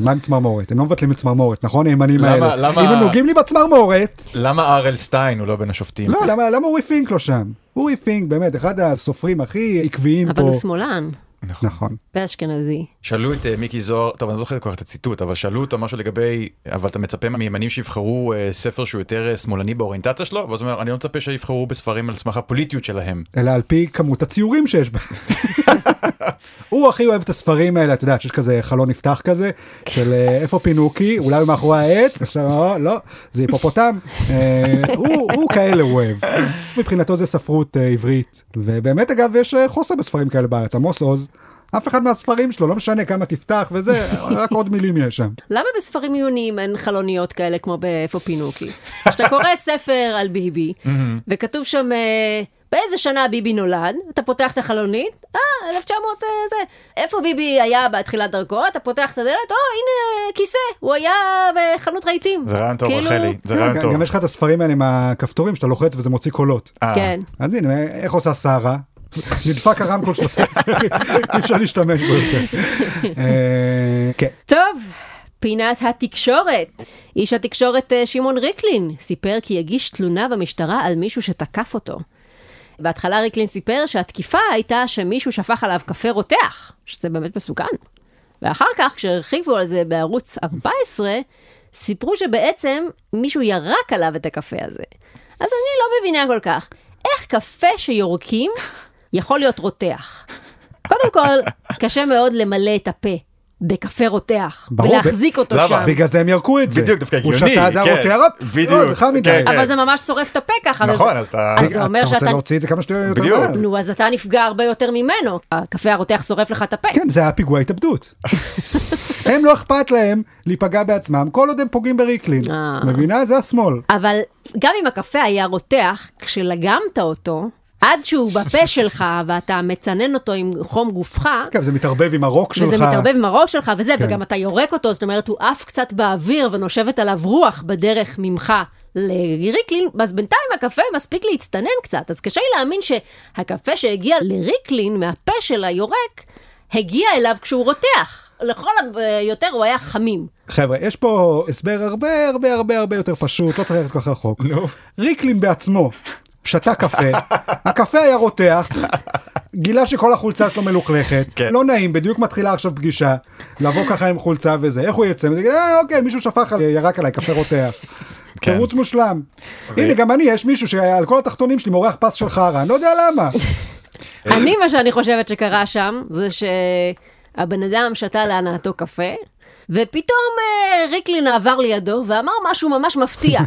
S1: מה עם צמרמורת? הם לא מבטלים את צמרמורת, נכון? הימנים
S3: למה-
S1: האלה.
S3: למה-
S1: אם הם נוגעים לי בצמרמורת,
S3: למה אראל סטיין הוא לא בין
S2: כן.
S3: השופטים?
S1: לא, למה למה אורי פינק לא שם? אורי פינק באמת אחד הסופרים הכי עקביים
S2: אבל
S1: פה.
S2: הוא שמאלן,
S1: נכון.
S2: ואשכנזי.
S3: שאלו את אה, מיקי זוהר, טוב אני לא זוכר כל כך את הציטוט, אבל שאלו אותו משהו לגבי, אבל אתה מצפה מימנים שיבחרו אה, ספר שהוא יותר אה, שמאלני באוריינטציה שלו? ואז הוא אומר, אני לא מצפה שיבחרו בספרים על סמך הפוליטיות שלהם.
S1: אלא על פי כמות הציורים שיש בהם. *laughs* הוא הכי אוהב את הספרים האלה, אתה יודע, שיש כזה חלון נפתח כזה, של אה, איפה פינוקי, אולי הוא מאחורי העץ, עכשיו "אה, לא, זה היפופוטם, אה, הוא הוא כאלה הוא אוהב. מבחינתו זה ספרות אה, עברית, ובאמת אגב יש אה, חוסר בספרים כאלה בארץ, עמוס עוז, אף אחד מהספרים שלו, לא משנה כמה תפתח וזה, רק עוד מילים יש שם.
S2: למה בספרים עיוניים אין חלוניות כאלה
S3: *laughs*
S2: כמו באיפה פינוקי? כשאתה קורא ספר על ביבי, וכתוב שם אה, באיזה שנה ביבי נולד? אתה פותח את החלונית, אה, 1900 אה, זה. איפה ביבי היה בתחילת דרכו? אתה פותח את הדלת, או, הנה אה, כיסא, הוא היה בחנות רהיטים.
S3: זה רעיון טוב,
S2: כאילו-
S3: רחלי, זה רעיון
S1: כן,
S3: טוב.
S1: גם יש לך את הספרים האלה עם הכפתורים שאתה לוחץ וזה מוציא קולות.
S3: אה,
S2: כן.
S1: אז הנה, איך עושה שרה? נדפק הרמקול של הספר, אי אפשר להשתמש בו יותר. אה, כן.
S2: טוב, פינת התקשורת. איש התקשורת אה, שמעון ריקלין סיפר כי הגיש תלונה במשטרה על מישהו שתקף אותו. בהתחלה ריקלין סיפר שהתקיפה הייתה שמישהו שפך עליו קפה רותח, שזה באמת מסוכן. ואחר כך, כשהרחיבו על זה בערוץ 14, סיפרו שבעצם מישהו ירק עליו את הקפה הזה. אז אני לא מבינה כל כך, איך קפה שיורקים יכול להיות רותח? קודם כל, קשה מאוד למלא את הפה בקפה רותח,
S1: ברור,
S2: ולהחזיק אותו
S3: למה?
S2: שם.
S1: בגלל זה הם ירקו את זה.
S3: אה, בדיוק, דווקא הגיוני,
S1: הוא שתה, לא, זה
S3: כן.
S1: הרותרת?
S3: בדיוק,
S1: זה חם מדי.
S3: כן, כן.
S2: אבל זה ממש שורף את הפה ככה.
S3: נכון, אז אתה...
S2: אז- זה אומר
S1: אתה רוצה
S2: שאתה-
S1: להוציא את זה כמה שיותר יותר
S3: בדיוק.
S1: מהר.
S2: נו, אז אתה נפגע הרבה יותר ממנו. הקפה הרותח שורף לך את הפה.
S1: כן, זה היה פיגוע
S3: *laughs*
S1: התאבדות. הם לא אכפת להם להיפגע בעצמם, כל עוד הם פוגעים בריקלין.
S2: אה.
S1: מבינה? זה השמאל.
S2: אבל גם אם הקפה היה רותח, כשלגמת אותו, עד שהוא
S1: *laughs*
S2: בפה שלך ואתה מצנן אותו עם חום גופך,
S1: אגב, זה מתערבב עם הרוק שלך.
S2: וזה מתערבב עם הראש שלך וזה,
S1: כן.
S2: וגם אתה יורק אותו, זאת אומרת, הוא עף קצת באוויר ונושבת עליו רוח בדרך ממך. לריקלין, אז בינתיים הקפה מספיק להצטנן קצת, אז קשה לי להאמין שהקפה שהגיע לריקלין מהפה של היורק, הגיע אליו כשהוא רותח. לכל היותר הוא היה חמים.
S1: חבר'ה, יש פה הסבר הרבה הרבה הרבה הרבה יותר פשוט, לא צריך ללכת כל כך רחוק.
S3: נו.
S1: ריקלין בעצמו שתה
S3: *laughs*
S1: קפה, הקפה היה רותח, גילה שכל החולצה שלו מלוכלכת,
S3: כן.
S1: לא נעים, בדיוק מתחילה עכשיו פגישה, לבוא ככה עם חולצה וזה, איך הוא יצא? מזה? אה, אוקיי, מישהו שפך עלי, ירק עליי, קפה רותח.
S3: כן. אוקיי.
S1: תירוץ מושלם. הנה, גם אני, יש מישהו שעל כל התחתונים שלי מורח פס של חרא, אני לא יודע למה.
S2: אני, מה שאני חושבת שקרה שם, זה שהבן אדם שתה להנאתו קפה, ופתאום אה, ריקלין עבר לידו ואמר משהו ממש מפתיע.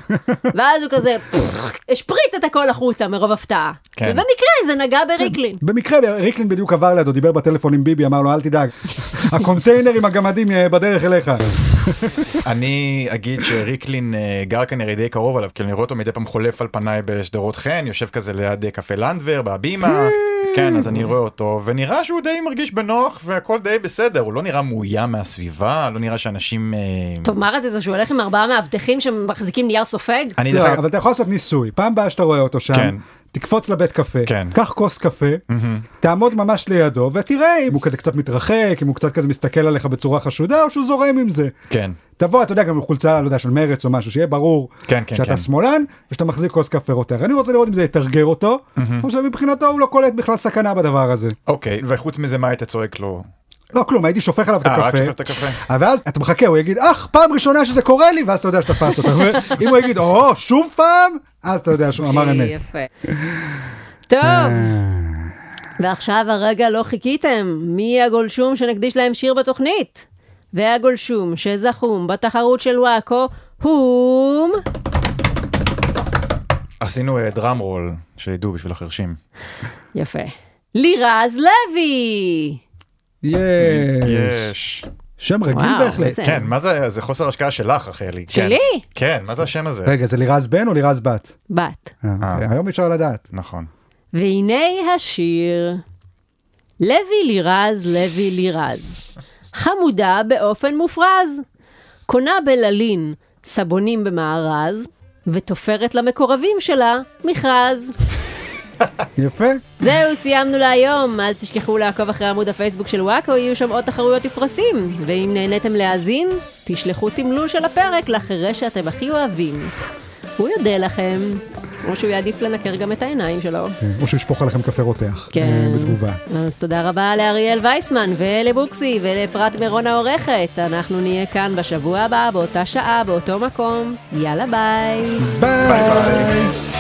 S2: ואז הוא כזה, פפח, השפריץ את הכל החוצה מרוב הפתעה.
S3: כן.
S2: ובמקרה זה נגע בריקלין.
S1: במקרה ריקלין בדיוק עבר לידו, דיבר בטלפון עם ביבי, אמר לו אל תדאג, הקונטיינר עם הגמדים אה, בדרך אליך.
S3: *laughs* אני אגיד שריקלין אה, גר כנראה די קרוב עליו, כאילו אני רואה אותו מדי פעם חולף על פניי בשדרות חן, יושב כזה ליד אה, קפה לנדבר, בהבימה, כן, אז אני רואה אותו, ונראה שהוא די מרגיש בנוח והכל די בסדר, הוא לא נראה מאוים מהסביבה, לא נראה שאנשים... אה,
S2: טוב, מה רצית? שהוא הולך עם ארבעה מאבטחים שמחזיקים נייר סופג?
S3: אני דרך
S1: לא,
S3: אגב...
S1: אבל אתה יכול לעשות ניסוי, פעם באה שאתה רואה אותו
S3: כן.
S1: שם, תקפוץ לבית קפה,
S3: כן.
S1: קח כוס קפה, תעמוד ממש לידו ותראה אם הוא כזה קצת מתרחק, אם הוא קצת כזה מסתכל עליך בצורה חשודה או שהוא זורם עם זה.
S3: כן.
S1: תבוא, אתה יודע, גם עם חולצה, לא יודע, של מרץ או משהו, שיהיה ברור
S3: כן, כן,
S1: שאתה
S3: כן.
S1: שמאלן ושאתה מחזיק כוס קפה רותח. אני רוצה לראות אם זה יתרגר אותו, או שמבחינתו הוא לא קולט בכלל סכנה בדבר הזה.
S3: אוקיי, וחוץ מזה מה היית צועק לו?
S1: לא כלום, הייתי שופך עליו את
S3: אה, רק שופך את
S1: הקפה.
S3: הקפה?
S1: אבל ואז אתה מחכה, הוא יגיד, אך, פעם ראשונה שזה קורה לי, ואז אתה יודע שתפסת אותו. *laughs* אם הוא יגיד, או, שוב פעם, אז אתה יודע שהוא אמר אמת.
S2: אוקיי, יפה. טוב. ועכשיו הרגע לא חיכיתם, מי הגולשום שנקדיש להם שיר בתוכנית? והגולשום שזכום בתחרות של וואקו, הום...
S3: עשינו דראם רול, שידעו בשביל החרשים.
S2: יפה. לירז לוי!
S1: יש.
S3: Mm, יש.
S1: שם רגיל
S2: וואו,
S1: בהחלט.
S2: איזה-
S3: כן, מה זה, זה חוסר השקעה שלך, רחלי. כן.
S2: שלי?
S3: כן, מה זה השם הזה?
S1: רגע, זה לירז בן או לירז בת?
S2: בת.
S1: אה, אוקיי, היום אי אפשר לדעת.
S3: נכון.
S2: והנה השיר. לוי לירז, לוי לירז. חמודה באופן מופרז. קונה בללין סבונים במארז, ותופרת למקורבים שלה מכרז.
S1: יפה.
S2: זהו, סיימנו להיום. אל תשכחו לעקוב אחרי עמוד הפייסבוק של וואקו, יהיו שם עוד תחרויות ופרסים. ואם נהניתם להאזין, תשלחו תמלול של הפרק לחירש שאתם הכי אוהבים. הוא יודה לכם, או שהוא יעדיף לנקר גם את העיניים שלו.
S1: כן, או שישפוך עליכם קפה רותח.
S2: כן.
S1: אה, בתגובה.
S2: אז תודה רבה לאריאל וייסמן ולבוקסי ולאפרת מירון העורכת. אנחנו נהיה כאן בשבוע הבא, באותה שעה, באותו מקום. יאללה ביי.
S1: ביי.